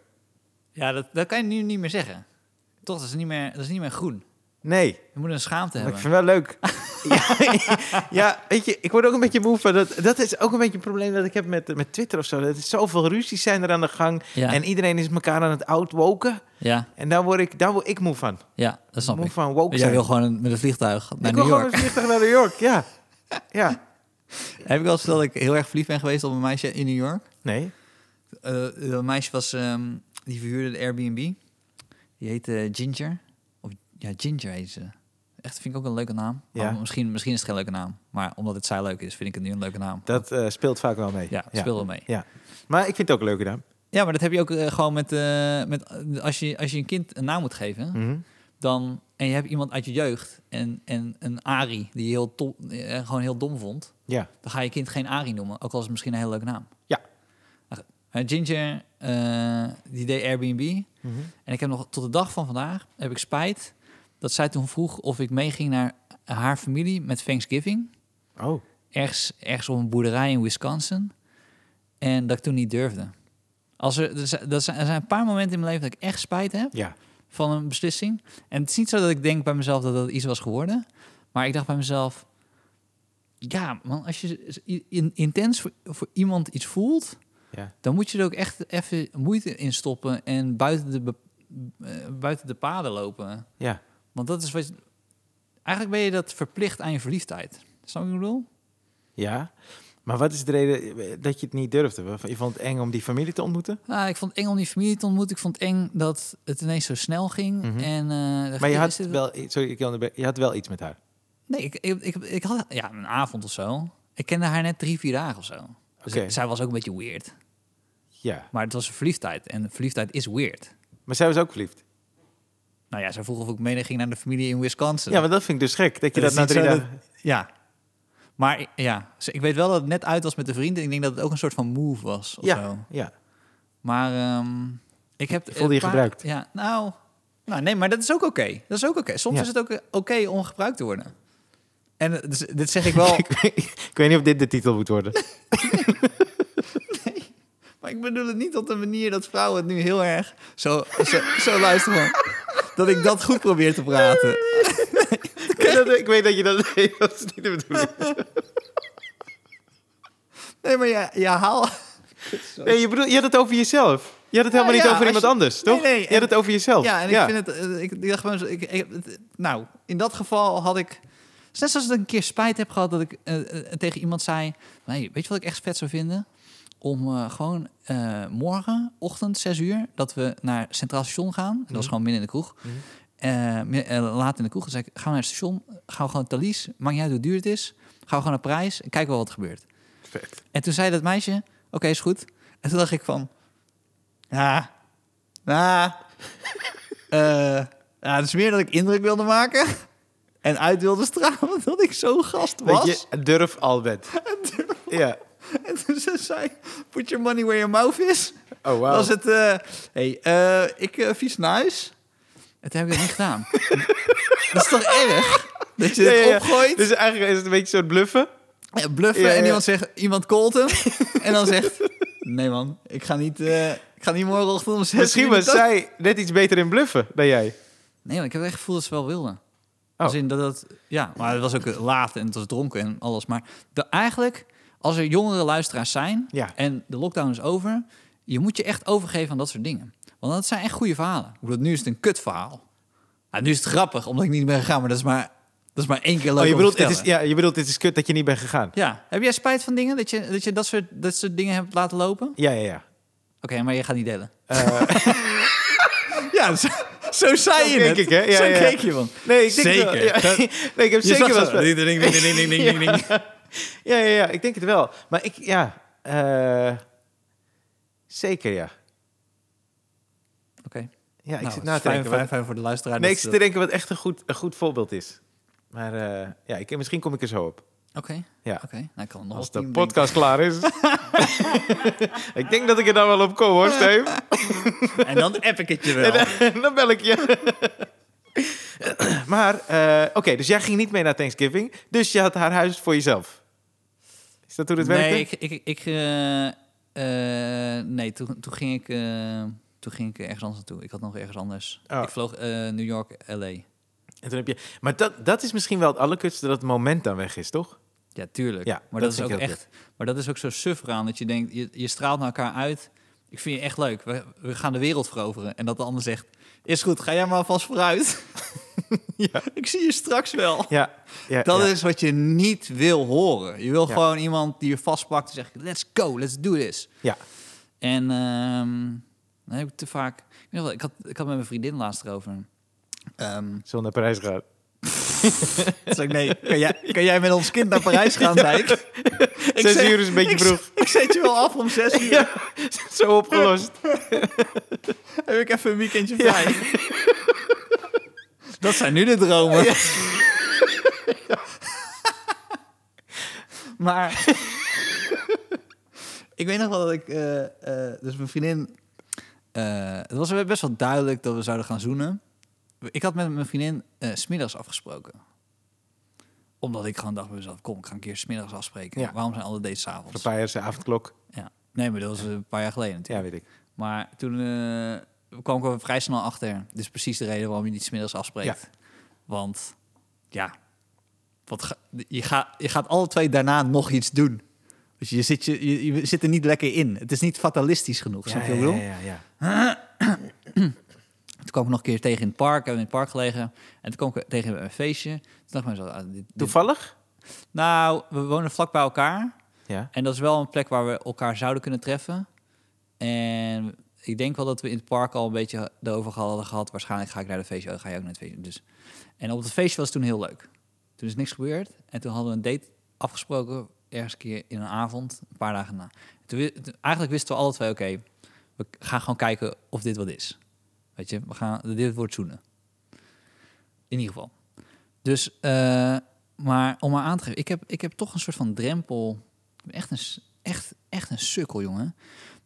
Speaker 2: ja dat, dat kan je nu niet meer zeggen. Toch, dat is niet meer, dat is niet meer groen.
Speaker 1: Nee,
Speaker 2: Je moet een schaamte
Speaker 1: maar ik
Speaker 2: hebben.
Speaker 1: vind wel leuk.
Speaker 2: *laughs*
Speaker 1: ja, ja, weet je, ik word ook een beetje moe van dat. Dat is ook een beetje een probleem dat ik heb met, met Twitter of zo. Dat is zoveel ruzies zijn er aan de gang.
Speaker 2: Ja,
Speaker 1: En iedereen is elkaar aan het outwoken.
Speaker 2: ja,
Speaker 1: En daar word ik, daar word ik moe van.
Speaker 2: ja, dat snap
Speaker 1: moe
Speaker 2: ik.
Speaker 1: van woke
Speaker 2: Jij
Speaker 1: zijn.
Speaker 2: wil gewoon met een vliegtuig naar
Speaker 1: ik wil
Speaker 2: New
Speaker 1: gewoon
Speaker 2: York.
Speaker 1: een vliegtuig naar New York, ja. Ja.
Speaker 2: Heb ik al eens verteld dat ik heel erg verliefd ben geweest op een meisje in New York?
Speaker 1: Nee.
Speaker 2: Eh, dat meisje was, ehm, die verhuurde de Airbnb. Die heette Ginger. Of, ja, Ginger heet ze. Echt, vind ik ook een leuke naam.
Speaker 1: Ja.
Speaker 2: Maar misschien, misschien is het geen leuke naam. Maar omdat het zij leuk is, vind ik het nu een leuke naam.
Speaker 1: Dat eh, speelt vaak wel mee.
Speaker 2: Ja, speel er mee.
Speaker 1: Ja. Maar ik vind het ook een leuke naam.
Speaker 2: Ja, maar dat heb je ook eh, gewoon met... eh, met eh, als, je, als je een kind een naam moet geven,
Speaker 1: Mhm.
Speaker 2: dan... En je hebt iemand uit je jeugd en, en een Ari die je heel to- eh, gewoon heel dom vond.
Speaker 1: Ja.
Speaker 2: Dan ga je kind geen Ari noemen, ook al is het misschien een hele leuke naam.
Speaker 1: Ja.
Speaker 2: Nou, goed. Eh, Ginger, eh, die deed Airbnb.
Speaker 1: Mhm.
Speaker 2: En ik heb nog tot de dag van vandaag heb ik spijt dat zij toen vroeg of ik meeging naar haar familie met Thanksgiving.
Speaker 1: Oh.
Speaker 2: Ergens, ergens op een boerderij in Wisconsin. En dat ik toen niet durfde. Als er, er, zijn, dat zijn- er zijn een paar momenten in mijn leven dat ik echt spijt heb
Speaker 1: Ja.
Speaker 2: van een beslissing. En het is niet zo dat ik denk bij mezelf dat dat iets was geworden. Maar ik dacht bij mezelf... Ja, man, als je i- in- intens voor, voor iemand iets voelt...
Speaker 1: Ja.
Speaker 2: dan moet je er ook echt even moeite in stoppen... en buiten de, be- eh, buiten de paden lopen.
Speaker 1: Ja.
Speaker 2: Want dat is wat... je- Eigenlijk ben je dat verplicht aan je verliefdheid. Snap je wat ik bedoel?
Speaker 1: Ja. Maar wat is de reden eh, dat je het niet durfde? Je vond het eng om die familie te ontmoeten?
Speaker 2: Nou, ik vond het eng om die familie te ontmoeten. Ik vond het eng dat het ineens zo snel ging.
Speaker 1: Mhm.
Speaker 2: en, eh, dacht
Speaker 1: Maar je
Speaker 2: ik,
Speaker 1: had
Speaker 2: is dit-
Speaker 1: wel, sorry, ik onderbreek- je had wel iets met haar.
Speaker 2: Nee, ik, ik, ik, ik had ja, een avond of zo. Ik kende haar net drie, vier dagen of zo. Dus
Speaker 1: Oké.
Speaker 2: zij was ook een beetje weird.
Speaker 1: Ja.
Speaker 2: Maar het was een verliefdheid. En verliefdheid is weird.
Speaker 1: Maar zij was ook verliefd.
Speaker 2: Nou ja, zij vroeg of ik mee ging naar de familie in Wisconsin.
Speaker 1: Ja, maar dat vind ik dus gek. Dat je dat,
Speaker 2: is
Speaker 1: na
Speaker 2: niet
Speaker 1: drie
Speaker 2: zo
Speaker 1: dagen...
Speaker 2: dat- Ja. Maar ik- ja, ze- ik weet wel dat het net uit was met de vrienden. Ik denk dat het ook een soort van move was of
Speaker 1: Ja,
Speaker 2: zo.
Speaker 1: ja. *laughs*
Speaker 2: Maar ehm, ik heb...
Speaker 1: Je voelde je
Speaker 2: een
Speaker 1: gebruikt.
Speaker 2: Ja, nou... Nou, nee, maar dat is ook oké. Dat is ook oké. Soms
Speaker 1: Ja.
Speaker 2: is het ook eh, oké om gebruikt te worden. En eh, dus, dit zeg ik
Speaker 1: *laughs*
Speaker 2: wel...
Speaker 1: ik, weet, ik weet niet of dit de titel moet
Speaker 2: *laughs*
Speaker 1: worden.
Speaker 2: Maar ik bedoel het niet op de manier dat vrouwen het nu heel erg zo, zo, zo luisteren. van, Dat ik dat goed probeer te praten.
Speaker 1: Ja, dat- ik weet dat je dat... *laughs* nee, dat is niet de
Speaker 2: *laughs*
Speaker 1: bedoeling.
Speaker 2: Nee, maar ja, ja haal.
Speaker 1: Nee, je, bedoel, je had het over jezelf. Je had het helemaal
Speaker 2: Ja,
Speaker 1: niet
Speaker 2: ja,
Speaker 1: over
Speaker 2: als
Speaker 1: iemand
Speaker 2: je-
Speaker 1: anders,
Speaker 2: Nee,
Speaker 1: toch?
Speaker 2: nee,
Speaker 1: je had
Speaker 2: en-
Speaker 1: het over jezelf.
Speaker 2: Ja, en ik vind het. eh, Ik, ik dacht gewoon. zo- Ik, ik, het- nou, in dat geval had ik. het is Net zoals dat ik een keer spijt heb gehad dat ik eh, eh, tegen iemand zei: nee, Weet je wat ik echt vet zou vinden? Om eh, gewoon eh morgenochtend, 6 uur, dat we naar Centraal Station gaan. Dat was
Speaker 1: Mhm.
Speaker 2: gewoon midden in de kroeg.
Speaker 1: Mhm.
Speaker 2: Eh, mi- eh, laat in de kroeg. Dan zei ik: Gaan we naar het station? Gaan we gewoon Thalys? Maakt niet uit hoe duur het is. Gaan we gewoon naar Prijs? En kijken we wel wat er gebeurt.
Speaker 1: Vet.
Speaker 2: En toen zei dat meisje, oké, is goed. En toen dacht ik van, ja, nou, *laughs* eh, ja, het is meer dat ik indruk wilde maken en uit wilde stralen *laughs* dat ik zo'n gast was.
Speaker 1: Dat je durf al bent. Ja.
Speaker 2: *laughs* En toen ze zei, put your money where your mouth is.
Speaker 1: Oh,
Speaker 2: Was
Speaker 1: wauw.
Speaker 2: het, eh, hey, eh, ik eh, fiets naar huis. En toen heb ik dat niet
Speaker 1: *laughs*
Speaker 2: gedaan. dat is toch erg? Dat je
Speaker 1: Ja,
Speaker 2: het
Speaker 1: ja, ja.
Speaker 2: opgooit.
Speaker 1: Dus eigenlijk is het een beetje zo'n bluffen.
Speaker 2: Ja, Eh, bluffen
Speaker 1: Ja, ja.
Speaker 2: en iemand zegt, iemand callt hem. *laughs* en dan zegt, nee man, ik ga niet, eh, ik ga niet morgenochtend om zes
Speaker 1: Misschien
Speaker 2: uur
Speaker 1: was
Speaker 2: die tas-
Speaker 1: zij net iets beter in bluffen dan jij.
Speaker 2: Nee, maar ik heb echt het gevoel dat ze wel wilden.
Speaker 1: Oh.
Speaker 2: Als in dat dat, ja, maar het was ook eh, laat en het was dronken en alles. Maar de, eigenlijk, als er jongere luisteraars zijn
Speaker 1: Ja.
Speaker 2: en de lockdown is over, je moet je echt overgeven aan dat soort dingen. Want dat zijn echt goede verhalen. Ik bedoel, nu is het een kut verhaal. Ja, nu is het grappig, omdat ik niet ben gegaan, maar dat is maar, dat is maar één keer leuk
Speaker 1: Oh, je
Speaker 2: om
Speaker 1: bedoelt,
Speaker 2: te
Speaker 1: het is,
Speaker 2: vertellen.
Speaker 1: ja, je bedoelt, dit is kut dat je niet bent gegaan.
Speaker 2: ja. Heb jij spijt van dingen? Dat je dat, je dat, soort, dat soort dingen hebt laten lopen? Oké,
Speaker 1: Ja, ja, ja.
Speaker 2: maar je gaat niet delen. *laughs* ja, zo, zo zei
Speaker 1: Eh. Zo
Speaker 2: je
Speaker 1: keek
Speaker 2: het.
Speaker 1: ik, hè? Ja,
Speaker 2: zo
Speaker 1: ja, ja.
Speaker 2: keek je, man.
Speaker 1: Nee, ik denk
Speaker 2: Zeker.
Speaker 1: wel. Ja. *laughs* Nee, ik heb
Speaker 2: Je
Speaker 1: zeker
Speaker 2: zag
Speaker 1: wel
Speaker 2: zo-
Speaker 1: spijt.
Speaker 2: Ding, ding, ding, ding, ding, ding, ding.
Speaker 1: Ja, ja, ja, ik denk het wel. Maar ik, ja, eh, zeker ja.
Speaker 2: *laughs* Oké.
Speaker 1: Ja, ik
Speaker 2: Nou,
Speaker 1: zit
Speaker 2: het
Speaker 1: na
Speaker 2: is
Speaker 1: te denken.
Speaker 2: Fijn, fijn,
Speaker 1: wat-
Speaker 2: fijn voor de luisteraar.
Speaker 1: nee, ik
Speaker 2: dat
Speaker 1: zit
Speaker 2: ze
Speaker 1: te denken wat echt een goed, een goed voorbeeld is. Maar eh, ja, ik, misschien kom ik er zo op.
Speaker 2: dat- Oké,
Speaker 1: Ja.
Speaker 2: oké. Nou, ik kan er nog
Speaker 1: Als
Speaker 2: wel
Speaker 1: de
Speaker 2: tien
Speaker 1: podcast klaar *laughs* is. ik denk dat ik er dan wel op kom hoor, Steve.
Speaker 2: denken. En dan app ik
Speaker 1: *laughs*
Speaker 2: het je wel.
Speaker 1: En dan bel ik je. *laughs* maar, eh, oké, dus jij ging niet mee naar Thanksgiving. Dus je had haar huis voor jezelf. Is dat hoe het werkte?
Speaker 2: nee, ik, ik, ik, eh, eh, nee toen, toen, ging ik, eh, toen ging ik ergens anders naartoe. Ik had nog ergens anders.
Speaker 1: Oh.
Speaker 2: Ik vloog eh, New York, LA.
Speaker 1: En toen heb je... Maar dat, dat is misschien wel het allerkutste, dat het moment dan weg is, toch?
Speaker 2: Ja, tuurlijk.
Speaker 1: Ja, dat
Speaker 2: maar dat,
Speaker 1: vind
Speaker 2: is
Speaker 1: ik
Speaker 2: ook
Speaker 1: heel
Speaker 2: echt. Maar dat is ook zo suf eraan dat je denkt, je, je straalt naar elkaar uit. Ik vind je echt leuk. We, we gaan de wereld veroveren. En dat de ander zegt, is goed, ga jij maar alvast *laughs* vooruit.
Speaker 1: Ja.
Speaker 2: Ik zie je straks wel.
Speaker 1: Ja. ja
Speaker 2: Dat
Speaker 1: ja.
Speaker 2: is wat je niet wil horen. Je wil
Speaker 1: Ja.
Speaker 2: gewoon iemand die je vastpakt en zegt: Let's go, let's do this.
Speaker 1: Ja.
Speaker 2: En ehm dan heb ik te vaak. Ik, weet nog wel, ik, had, ik had met mijn vriendin laatst erover. Ehm
Speaker 1: Zullen
Speaker 2: *laughs*
Speaker 1: we naar Parijs gaan?
Speaker 2: toen zei ik, *laughs* nee, kan jij, kan jij met ons kind naar Parijs gaan, Dijk? *laughs* Ik
Speaker 1: Zes
Speaker 2: zeg-
Speaker 1: uur is een beetje
Speaker 2: ik-
Speaker 1: vroeg.
Speaker 2: Ik zet je wel af om zes *laughs* uur.
Speaker 1: Zo opgelost.
Speaker 2: Heb ik even een weekendje vrij. Dat zijn nu de dromen. *laughs* maar *laughs* ik weet nog wel dat ik... eh, eh, dus mijn vriendin... eh, het was best wel duidelijk dat we zouden gaan zoenen. Ik had met mijn vriendin eh, 's smiddags afgesproken. Omdat ik gewoon dacht bij mezelf... Kom, ik ga een keer smiddags afspreken.
Speaker 1: Ja.
Speaker 2: Waarom zijn alle dates 's avonds?
Speaker 1: Papaya is de avondklok.
Speaker 2: Ja. Nee, maar dat was een paar jaar geleden natuurlijk.
Speaker 1: Ja, weet ik.
Speaker 2: Maar toen eh, kwam ik er vrij snel achter. Dus precies de reden waarom je niet smiddags afspreekt. Want ja, wat ga- je, gaat je gaat alle twee daarna nog iets doen. Dus je zit, je, je, je zit er niet lekker in. Het is niet fatalistisch genoeg, snap je wat ik bedoel?
Speaker 1: ja, ja.
Speaker 2: Toen kwam ik nog een keer tegen in het park. Hebben we in het park gelegen. En toen kwam ik tegen een feestje. Toen dacht ik mezelf, ah, dit- dit-
Speaker 1: Toevallig?
Speaker 2: nou, we wonen vlak bij elkaar.
Speaker 1: Ja.
Speaker 2: En dat is wel een plek waar we elkaar zouden kunnen treffen. En ik denk wel dat we in het park al een beetje erover hadden gehad. Waarschijnlijk ga ik naar de feestje. Oh, ga je ook naar het feestje. Dus. En op het feestje was het toen heel leuk. Toen is niks gebeurd. En toen hadden we een date afgesproken. Ergens een keer in een avond. Een paar dagen na. Toen, wi- toen- eigenlijk wisten we alle twee, oké. we gaan gewoon kijken of dit wat is. Weet je, we gaan, dit wordt zoenen. In ieder geval. Dus, eh, maar om maar aan te geven. Ik heb, ik heb toch een soort van drempel... Ik ben echt een, s- echt, echt een sukkel, jongen.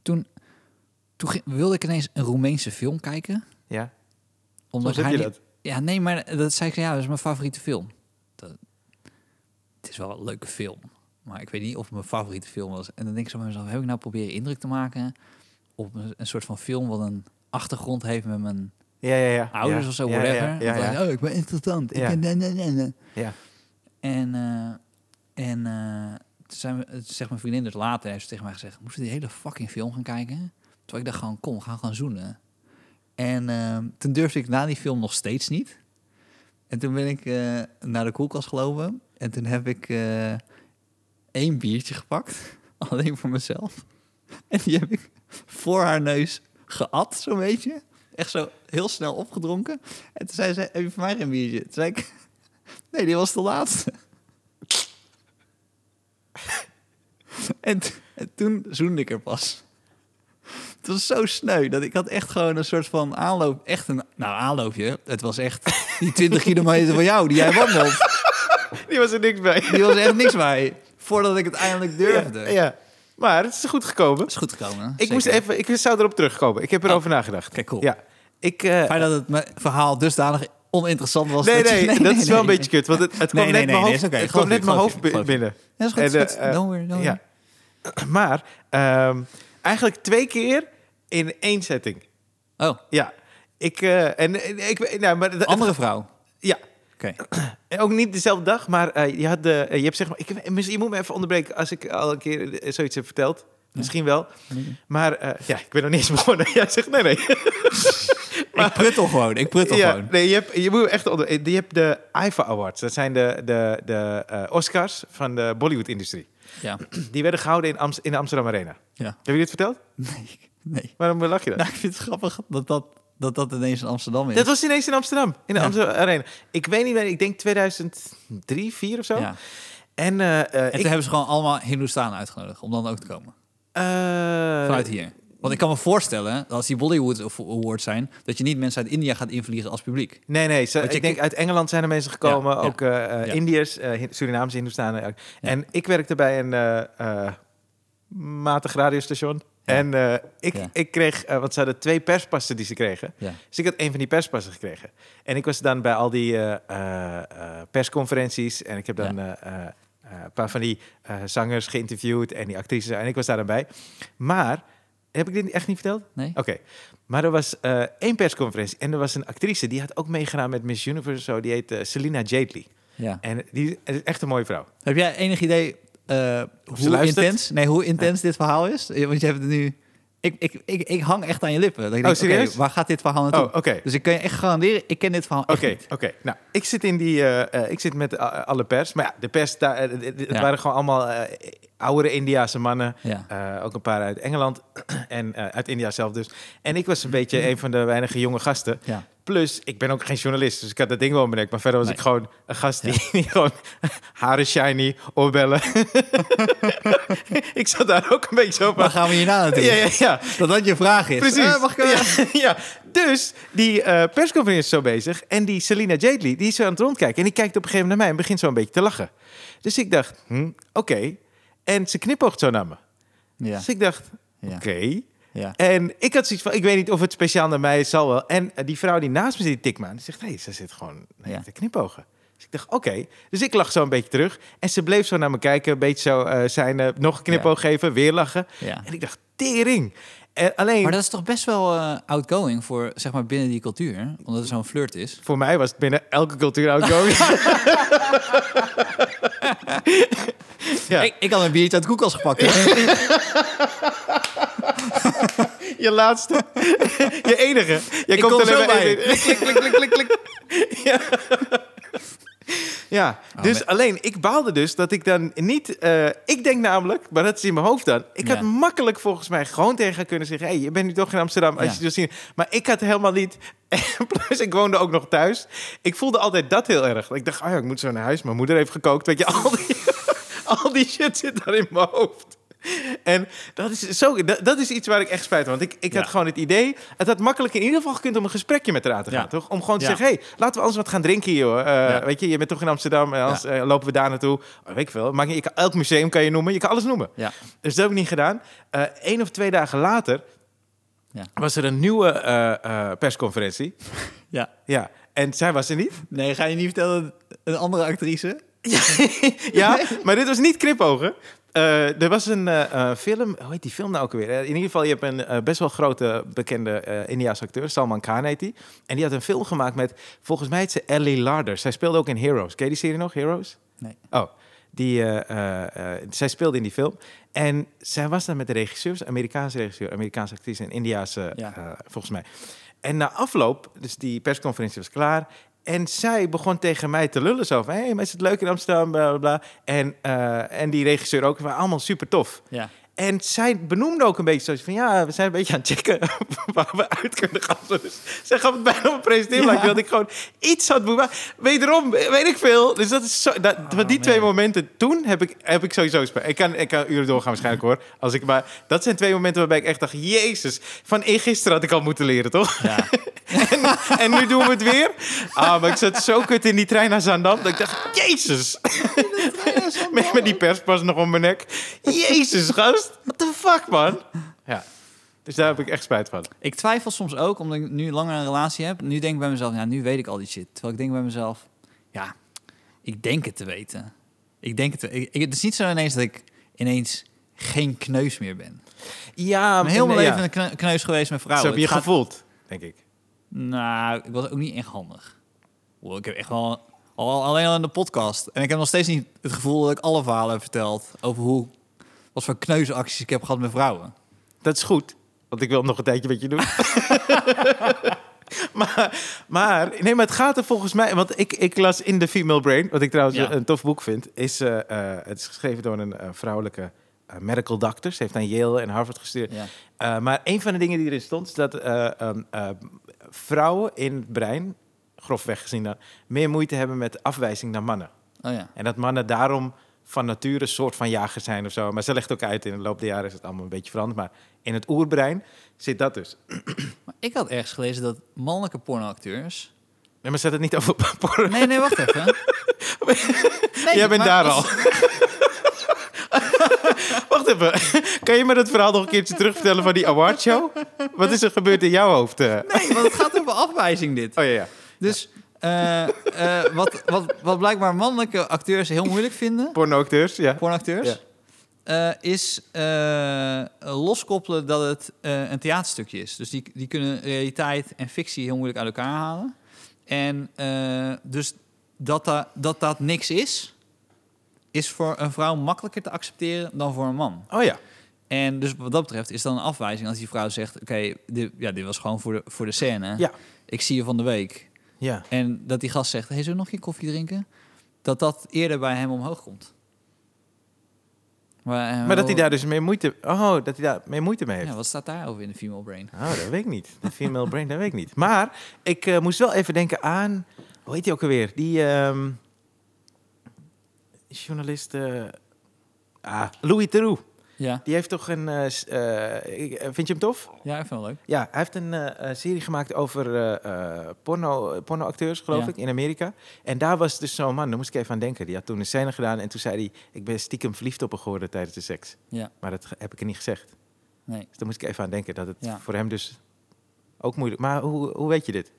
Speaker 2: Toen, toen ging- wilde ik ineens een Roemeense film kijken.
Speaker 1: Ja.
Speaker 2: Omdat
Speaker 1: Soms heb
Speaker 2: hij
Speaker 1: je
Speaker 2: niet- Ja, nee, maar dat zei ik, ja, dat is mijn favoriete film. Dat, het is wel een leuke film. Maar ik weet niet of het mijn favoriete film was. En dan denk ik zo bij mezelf, heb ik nou proberen indruk te maken... op een, een soort van film wat een achtergrond heeft met mijn
Speaker 1: Ja, ja, ja.
Speaker 2: ouders
Speaker 1: ja.
Speaker 2: of zo,
Speaker 1: Ja,
Speaker 2: whatever.
Speaker 1: Ja, ja,
Speaker 2: Want
Speaker 1: ja,
Speaker 2: dan- Oh, ik ben interessant. Ik
Speaker 1: Ja.
Speaker 2: ben- nee, nee, nee, nee.
Speaker 1: ja.
Speaker 2: En, eh, en eh, toen zijn we, toen zegt mijn vriendin dus later, heeft ze tegen mij gezegd, moesten we die hele fucking film gaan kijken? Toen ik dacht gewoon, kom, we gaan gewoon zoenen. En eh, toen durfde ik na die film nog steeds niet. En toen ben ik eh, naar de koelkast gelopen. En toen heb ik eh, één biertje gepakt. *laughs* Alleen voor mezelf. En die heb ik voor haar neus geat, zo'n beetje. Echt zo heel snel opgedronken. En toen zei ze, heb je voor mij geen biertje? Toen zei ik, *laughs* nee, dit was de laatste. *laughs* En, t- en toen zoende ik er pas. Het was zo sneu dat ik had echt gewoon een soort van aanloop. Echt een. Nou, aanloopje. Het was echt
Speaker 1: *laughs*
Speaker 2: die 20 kilometer van jou die jij wandelt.
Speaker 1: Die was er niks bij.
Speaker 2: Die was echt niks bij. Voordat ik het eindelijk durfde.
Speaker 1: Ja, ja. Maar het is goed gekomen.
Speaker 2: Is goed gekomen.
Speaker 1: Ik, moest even, ik zou erop terugkomen. Ik heb erover nagedacht.
Speaker 2: Oh. Oké, cool.
Speaker 1: Ja. Ik, eh,
Speaker 2: Fijn dat het mijn verhaal dusdanig oninteressant was.
Speaker 1: nee,
Speaker 2: dat je- *laughs*
Speaker 1: nee, dat is wel een beetje kut. Want het, het kwam
Speaker 2: Nee, nee,
Speaker 1: net
Speaker 2: nee,
Speaker 1: mijn
Speaker 2: nee,
Speaker 1: hoofd,
Speaker 2: is oké.
Speaker 1: het kwam net
Speaker 2: Geloof je,
Speaker 1: mijn
Speaker 2: geloof
Speaker 1: hoofd
Speaker 2: je, geloof je.
Speaker 1: binnen.
Speaker 2: Ja, is goed.
Speaker 1: En,
Speaker 2: is goed.
Speaker 1: eh, eh,
Speaker 2: don't worry, don't
Speaker 1: ja.
Speaker 2: worry.
Speaker 1: Maar ehm, eigenlijk twee keer in één setting.
Speaker 2: Oh,
Speaker 1: Ja. Ik, eh, en, eh, ik, nou, maar dat-
Speaker 2: Andere vrouw.
Speaker 1: Ja. *laughs*
Speaker 2: Oké.
Speaker 1: En Ook niet dezelfde dag, maar eh, je, had de, eh, je hebt zeg maar... Ik, heb- misschien- je moet me even onderbreken als ik al een keer eh, zoiets heb verteld. Misschien wel. Maar eh, ja, ik ben nog niet eens begonnen. *laughs* Jij zegt nee, nee.
Speaker 2: ik pruttel gewoon. Ik
Speaker 1: *laughs*
Speaker 2: pruttel
Speaker 1: ja,
Speaker 2: gewoon.
Speaker 1: Nee, je hebt, je moet echt onder, eh, je hebt de IFA Awards. Dat zijn de, de, de eh, Oscars van de Bollywood-industrie.
Speaker 2: Ja.
Speaker 1: Die werden gehouden in, Amst- in de Amsterdam Arena.
Speaker 2: ja.
Speaker 1: Heb je dit verteld?
Speaker 2: Nee. nee.
Speaker 1: Waarom lach je dan?
Speaker 2: Nou, ik vind het grappig dat dat, dat, dat ineens in Amsterdam is.
Speaker 1: Dat was ineens in Amsterdam, in de
Speaker 2: Ja.
Speaker 1: Amsterdam Arena. Ik weet niet meer, ik denk 2003, 2004 of zo.
Speaker 2: Ja.
Speaker 1: En, eh, eh,
Speaker 2: En
Speaker 1: ik,
Speaker 2: toen hebben ze gewoon allemaal Hindoestanen uitgenodigd om dan ook te komen.
Speaker 1: eh,
Speaker 2: Vanuit hier. Want ik kan me voorstellen, dat als die Bollywood Awards zijn, dat je niet mensen uit India gaat invliegen als publiek.
Speaker 1: Nee, nee. Ze,
Speaker 2: Want je
Speaker 1: ik denk uit Engeland zijn er mensen gekomen.
Speaker 2: Ja, ja,
Speaker 1: ook eh eh,
Speaker 2: ja.
Speaker 1: Indiërs, eh, Hin- Surinaamse Hindoestanen. En ik werkte bij een eh, eh, matig radiostation.
Speaker 2: Ja.
Speaker 1: En eh, ik,
Speaker 2: Ja.
Speaker 1: ik kreeg, eh, want ze hadden twee perspassen die ze kregen.
Speaker 2: Ja.
Speaker 1: Dus ik had een van die perspassen gekregen. En ik was dan bij al die eh, eh, eh, persconferenties. En ik heb dan eh, eh, eh, een paar van die eh, zangers geïnterviewd en die actrices. En ik was daar dan bij. Maar, heb ik dit echt niet verteld?
Speaker 2: Nee?
Speaker 1: Oké, maar er was eh, één persconferentie en er was een actrice die had ook meegedaan met Miss Universe, zo, die heet eh, Selina Jadely.
Speaker 2: Ja.
Speaker 1: En die is echt een mooie vrouw.
Speaker 2: Heb jij enig idee eh,
Speaker 1: ze
Speaker 2: hoe
Speaker 1: luistert?
Speaker 2: intens, nee, hoe intens dit verhaal is? Eh, Want je hebt het nu... Ik, ik, ik, ik hang echt aan je lippen. Dat ik denk, oké,
Speaker 1: Oh, serieus?
Speaker 2: waar gaat dit verhaal naartoe?
Speaker 1: Oh, oké.
Speaker 2: Dus ik kan je echt garanderen, ik ken dit verhaal
Speaker 1: Oké,
Speaker 2: echt niet.
Speaker 1: oké. Nou, ik zit in die, eh, eh, ik zit met a- alle pers, maar ja, de pers daar, eh, het- het
Speaker 2: Ja.
Speaker 1: waren gewoon allemaal eh, oudere Indiaanse mannen,
Speaker 2: Ja.
Speaker 1: eh, ook een paar uit Engeland *clears throat* en eh, uit India zelf dus. En ik was een
Speaker 2: *clears throat*
Speaker 1: beetje een van de weinige jonge gasten.
Speaker 2: Ja.
Speaker 1: Plus, ik ben ook geen journalist, dus ik had dat ding wel bedenkt. Maar verder was
Speaker 2: Nee.
Speaker 1: ik gewoon een gast die, *laughs* die gewoon haren shiny,
Speaker 2: *laughs*
Speaker 1: oorbellen. ik zat daar ook een beetje zo
Speaker 2: Waar
Speaker 1: van.
Speaker 2: gaan we hierna naartoe?
Speaker 1: Ja, ja, ja.
Speaker 2: Dat dat je vraag is.
Speaker 1: Precies.
Speaker 2: Eh, mag ik, eh,
Speaker 1: ja, *laughs* ja. Dus die eh, persconferentie is zo bezig. En die Selina Jadely, die is zo aan het rondkijken. En die kijkt op een gegeven moment naar mij en begint zo een beetje te lachen. Dus ik dacht, hm, oké. En ze knipoogt zo naar me.
Speaker 2: ja.
Speaker 1: Dus ik dacht,
Speaker 2: Ja.
Speaker 1: oké.
Speaker 2: Ja.
Speaker 1: En ik had zoiets van, ik weet niet of het speciaal naar mij is, zal wel. En eh, die vrouw die naast me zit, die tikma, die zegt, hé, hey, ze zit gewoon nee,
Speaker 2: Ja.
Speaker 1: te knipogen. Dus ik dacht, oké. Dus ik lag zo een beetje terug. En ze bleef zo naar me kijken, een beetje zo eh, zijn, eh, nog een knipoog geven, weer lachen.
Speaker 2: Ja.
Speaker 1: En ik dacht, tering. En alleen,
Speaker 2: Maar dat is toch best wel eh, outgoing voor, zeg maar, binnen die cultuur. Omdat het zo'n flirt is.
Speaker 1: voor mij was het binnen elke cultuur
Speaker 2: *laughs*
Speaker 1: outgoing. Ja.
Speaker 2: Ik, ik had een biertje uit de koelkast
Speaker 1: *laughs*
Speaker 2: gepakt. hoor.
Speaker 1: je laatste, *laughs* je enige. Jij
Speaker 2: Ik
Speaker 1: komt
Speaker 2: kom
Speaker 1: alleen
Speaker 2: zo
Speaker 1: maar
Speaker 2: bij.
Speaker 1: één- Klik, klik, klik, klik, klik, klik. Ja. Ja,
Speaker 2: Oh,
Speaker 1: dus
Speaker 2: maar-
Speaker 1: alleen ik baalde dus dat ik dan niet. eh, ik denk namelijk, maar dat is in mijn hoofd dan. Ik had
Speaker 2: Ja.
Speaker 1: makkelijk volgens mij gewoon tegen haar kunnen zeggen: hé, hey, je bent nu toch in Amsterdam als
Speaker 2: Ja.
Speaker 1: je het wil zien. Maar ik had helemaal niet. *laughs* Plus, ik woonde ook nog thuis. Ik voelde altijd dat heel erg. Ik dacht: oh ja, ik moet zo naar huis. Mijn moeder heeft gekookt. Weet je, al die, *laughs* al die shit zit daar in mijn hoofd. En dat is, zo, dat, dat is iets waar ik echt spijt van. Want ik, ik
Speaker 2: Ja.
Speaker 1: had gewoon het idee... Het had makkelijk in ieder geval gekund om een gesprekje met haar aan te gaan,
Speaker 2: Ja.
Speaker 1: toch? Om gewoon te
Speaker 2: Ja.
Speaker 1: zeggen, hey, laten we anders wat gaan drinken hier, hoor. Eh,
Speaker 2: Ja.
Speaker 1: Weet je, je bent toch in Amsterdam, en anders eh, lopen we daar naartoe. Oh, weet ik veel. Maakt niet- je kan, elk museum kan je noemen, je kan alles noemen.
Speaker 2: ja.
Speaker 1: Dus dat heb ik niet gedaan. Eén of twee dagen later
Speaker 2: Ja.
Speaker 1: was er een nieuwe eh, eh, persconferentie.
Speaker 2: ja.
Speaker 1: Ja, en zij was er niet.
Speaker 2: Nee, ga je niet vertellen dat een andere actrice?
Speaker 1: *laughs* Ja, maar dit was niet knipogen. Eh, er was een eh, eh, film, hoe heet die film nou ook weer? in ieder geval, je hebt een eh, best wel grote bekende eh Indiaanse acteur, Salman Khan heet die. En die had een film gemaakt met, volgens mij heet ze Ellie Larder. Zij speelde ook in Heroes. Ken je die serie nog, Heroes?
Speaker 2: Nee.
Speaker 1: Oh, die, eh, eh, eh, zij speelde in die film. En zij was dan met de regisseurs, Amerikaanse regisseur, Amerikaanse actrice en Indiaanse,
Speaker 2: Ja.
Speaker 1: eh, volgens mij. En na afloop, dus die persconferentie was klaar. En zij begon tegen mij te lullen zo van, hé, hey, maar is het leuk in Amsterdam, bla, bla, bla. En, eh, en die regisseur ook, we waren allemaal super tof.
Speaker 2: Ja.
Speaker 1: En zij benoemde ook een beetje zoiets van... ja, we zijn een beetje aan het checken *laughs* waar we uit kunnen gaan. Dus zij gaf het bijna op een presenteerblaadje...
Speaker 2: Ja.
Speaker 1: dat ik gewoon iets had moeten maken. Wederom, weet ik veel. Dus dat is zo... Dat, want die
Speaker 2: Oh, man.
Speaker 1: twee momenten toen heb ik, heb ik sowieso spijt. Ik kan, ik kan uren doorgaan waarschijnlijk hoor. Als ik, maar dat zijn twee momenten waarbij ik echt dacht... jezus, van eergisteren had ik al moeten leren, toch?
Speaker 2: Ja.
Speaker 1: en, *laughs* en nu doen we het weer. Ah, maar ik zat zo kut in die trein naar Zaandam... dat ik dacht, jezus... *laughs* Met, met die perspas nog om mijn nek. Jezus, gast. What the fuck, man? Ja. Dus daar heb ik echt spijt van.
Speaker 2: Ik twijfel soms ook, omdat ik nu langer een relatie heb. Nu denk ik bij mezelf, ja, nu weet ik al die shit. Terwijl ik denk bij mezelf, ja, ik denk het te weten. Ik denk het te- ik, ik- Het is niet zo ineens dat ik ineens geen kneus meer ben.
Speaker 1: Ja,
Speaker 2: Mijn hele
Speaker 1: en,
Speaker 2: leven
Speaker 1: ja.
Speaker 2: een kne- kneus geweest met
Speaker 1: Zo
Speaker 2: vrouwen.
Speaker 1: heb je
Speaker 2: Het gaat-
Speaker 1: gevoeld, denk ik.
Speaker 2: Nou, ik was ook niet echt handig. Wow, ik heb echt wel... Al, alleen al in de podcast. En ik heb nog steeds niet het gevoel dat ik alle verhalen heb verteld... over hoe... wat voor kneuzenacties ik heb gehad met vrouwen.
Speaker 1: Dat is goed, want ik wil nog een tijdje met je doen. *laughs* maar, maar, nee, maar het gaat er volgens mij... Want ik, ik las in The Female Brain, wat ik trouwens
Speaker 2: Ja.
Speaker 1: een tof boek vind... Is, eh, eh, het is geschreven door een eh, vrouwelijke eh, medical doctor. Ze heeft aan Yale en Harvard gestudeerd.
Speaker 2: Ja.
Speaker 1: Eh, maar een van de dingen die erin stond... is dat eh, ehm, eh, vrouwen in het brein, grofweg gezien... dan, meer moeite hebben met afwijzing dan mannen.
Speaker 2: Oh ja.
Speaker 1: En dat mannen daarom van nature een soort van jager zijn of zo. Maar ze legt ook uit, in de loop der jaren is het allemaal een beetje veranderd. Maar in het oerbrein zit dat dus.
Speaker 2: Maar ik had ergens gelezen dat mannelijke pornoacteurs...
Speaker 1: Nee, maar zet het niet over porno.
Speaker 2: Nee, nee, wacht
Speaker 1: *laughs*
Speaker 2: even. Nee,
Speaker 1: Jij bent
Speaker 2: maar
Speaker 1: daar
Speaker 2: als-
Speaker 1: al. *laughs* Wacht even. kan je me dat verhaal nog een keertje terugvertellen van die awardshow? Wat is er gebeurd in jouw hoofd? eh?
Speaker 2: Nee, want het gaat over afwijzing dit.
Speaker 1: Oh ja, ja.
Speaker 2: Dus eh, eh, wat, wat, wat blijkbaar mannelijke acteurs heel moeilijk vinden,
Speaker 1: Pornoacteurs, ja.
Speaker 2: pornoacteurs, eh, is eh, loskoppelen dat het eh, een theaterstukje is. Dus die, die kunnen realiteit en fictie heel moeilijk uit elkaar halen. En eh, dus dat, da- dat dat niks is, is voor een vrouw makkelijker te accepteren dan voor een man.
Speaker 1: Oh ja.
Speaker 2: En dus wat dat betreft is dan een afwijzing als die vrouw zegt: Oké, dit, ja, dit was gewoon voor de, voor de scène.
Speaker 1: Ja.
Speaker 2: Ik zie je van de week.
Speaker 1: Ja.
Speaker 2: En dat die gast zegt: Hey, zullen we nog een keer koffie drinken? Dat dat eerder bij hem omhoog komt. Maar, eh,
Speaker 1: Maar dat hij
Speaker 2: wel-
Speaker 1: daar dus mee moeite... Oh, dat hij daar mee moeite mee heeft.
Speaker 2: Ja, wat staat daarover in de female brain?
Speaker 1: Oh, dat weet ik niet. De female brain, dat weet ik niet. Maar ik eh, moest wel even denken aan... Hoe heet die ook alweer? Die ehm, journalist... eh, ah, Louis Theroux.
Speaker 2: Ja,
Speaker 1: Die heeft toch een... eh, s- eh, ik- eh, vind je hem tof?
Speaker 2: ja ik vind het leuk.
Speaker 1: Ja, hij heeft een eh, eh, serie gemaakt over eh, eh, porno, pornoacteurs, geloof
Speaker 2: Ja.
Speaker 1: ik, in Amerika. En daar was dus zo'n man, daar moest ik even aan denken. Die had toen een scène gedaan en toen zei hij... Ik ben stiekem verliefd op haar geworden tijdens de seks.
Speaker 2: Ja.
Speaker 1: Maar dat ge- heb ik er niet gezegd.
Speaker 2: Nee.
Speaker 1: Dus daar moest ik even aan denken dat het
Speaker 2: Ja.
Speaker 1: voor hem dus ook moeilijk... Maar hoe, hoe weet je dit?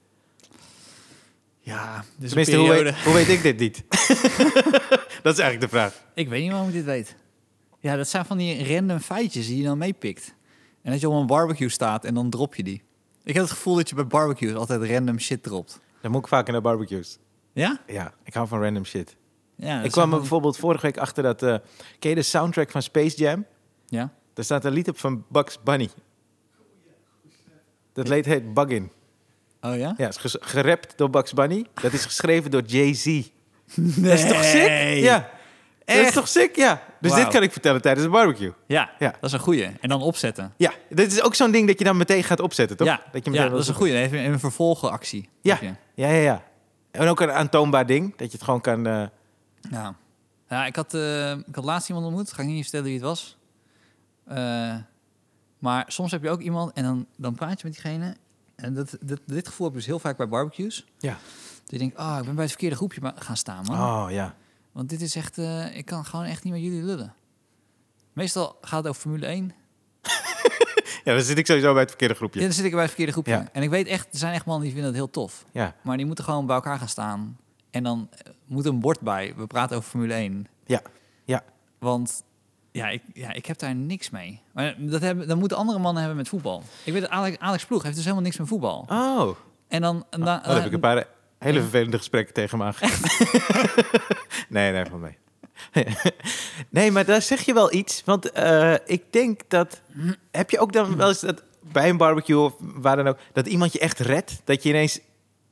Speaker 2: Ja, dus
Speaker 1: Tenminste, hoe weet, hoe weet ik dit niet? *laughs* dat is eigenlijk de vraag.
Speaker 2: Ik weet niet waarom ik dit weet. Ja, dat zijn van die random feitjes die je dan meepikt. En dat je op een barbecue staat en dan drop je die. Ik heb het gevoel dat je bij barbecues altijd random shit dropt.
Speaker 1: Dan moet ik vaker naar barbecues.
Speaker 2: Ja?
Speaker 1: Ja, ik hou van random shit.
Speaker 2: Ja. dat
Speaker 1: ik kwam er
Speaker 2: zijn van-
Speaker 1: bijvoorbeeld vorige week achter dat... eh ken je de soundtrack van Space Jam?
Speaker 2: Ja.
Speaker 1: Daar staat een lied op van Bugs Bunny. Dat leed heet Buggin.
Speaker 2: Oh ja?
Speaker 1: Ja, is ges- gerapt door Bugs Bunny. Dat is geschreven door Jay-Z.
Speaker 2: Nee.
Speaker 1: Dat is toch sick? Ja. Dat is
Speaker 2: Echt?
Speaker 1: toch sick? Ja. Dus dit
Speaker 2: Wauw.
Speaker 1: kan ik vertellen tijdens een barbecue.
Speaker 2: Ja,
Speaker 1: Ja.
Speaker 2: dat is een goeie. En dan opzetten.
Speaker 1: Ja, dit is ook zo'n ding dat je dan meteen gaat opzetten, toch?
Speaker 2: Ja,
Speaker 1: dat
Speaker 2: dat,
Speaker 1: je meteen
Speaker 2: ja, dat is een goeie. Even een vervolgenactie.
Speaker 1: Ja.
Speaker 2: heb je.
Speaker 1: Ja, ja, ja. En ook een aantoonbaar ding, dat je het gewoon kan... eh,
Speaker 2: Ja. Ja, ik, had, eh, ik had laatst iemand ontmoet. Ga ik niet vertellen wie het was. Eh, maar soms heb je ook iemand en dan, dan praat je met diegene. En dat, dat, dit gevoel heb je dus heel vaak bij barbecues.
Speaker 1: Ja.
Speaker 2: Dat je denkt, ah, ik ben bij het verkeerde groepje ma- gaan staan, man.
Speaker 1: Oh, ja.
Speaker 2: Want dit is echt, eh, ik kan gewoon echt niet met jullie lullen. Meestal gaat het over Formule 1.
Speaker 1: Ja, dan zit ik sowieso bij het verkeerde
Speaker 2: Ja,
Speaker 1: groepje.
Speaker 2: dan zit ik bij het verkeerde groepje.
Speaker 1: Ja.
Speaker 2: En ik weet echt, er zijn echt mannen die vinden dat heel tof.
Speaker 1: Ja,
Speaker 2: Maar die moeten gewoon bij elkaar gaan staan. En dan eh, moet een bord bij. We praten over Formule 1.
Speaker 1: Ja, ja.
Speaker 2: Want ja, ik, ja, ik heb daar niks mee. Maar dat, hebben, dat moeten andere mannen hebben met voetbal. Ik weet dat Alex, Alex Ploeg heeft dus helemaal niks met voetbal.
Speaker 1: Oh, oh,
Speaker 2: En dan... en dan-
Speaker 1: daar heb ik een paar eh, hele vervelende gesprekken tegen hem aangegeven.
Speaker 2: *laughs*
Speaker 1: nee, nee, van mij. nee, maar daar zeg je wel iets. Want eh, ik denk dat... Heb je ook dan wel eens dat bij een barbecue of waar dan ook... dat iemand je echt redt? Dat je ineens...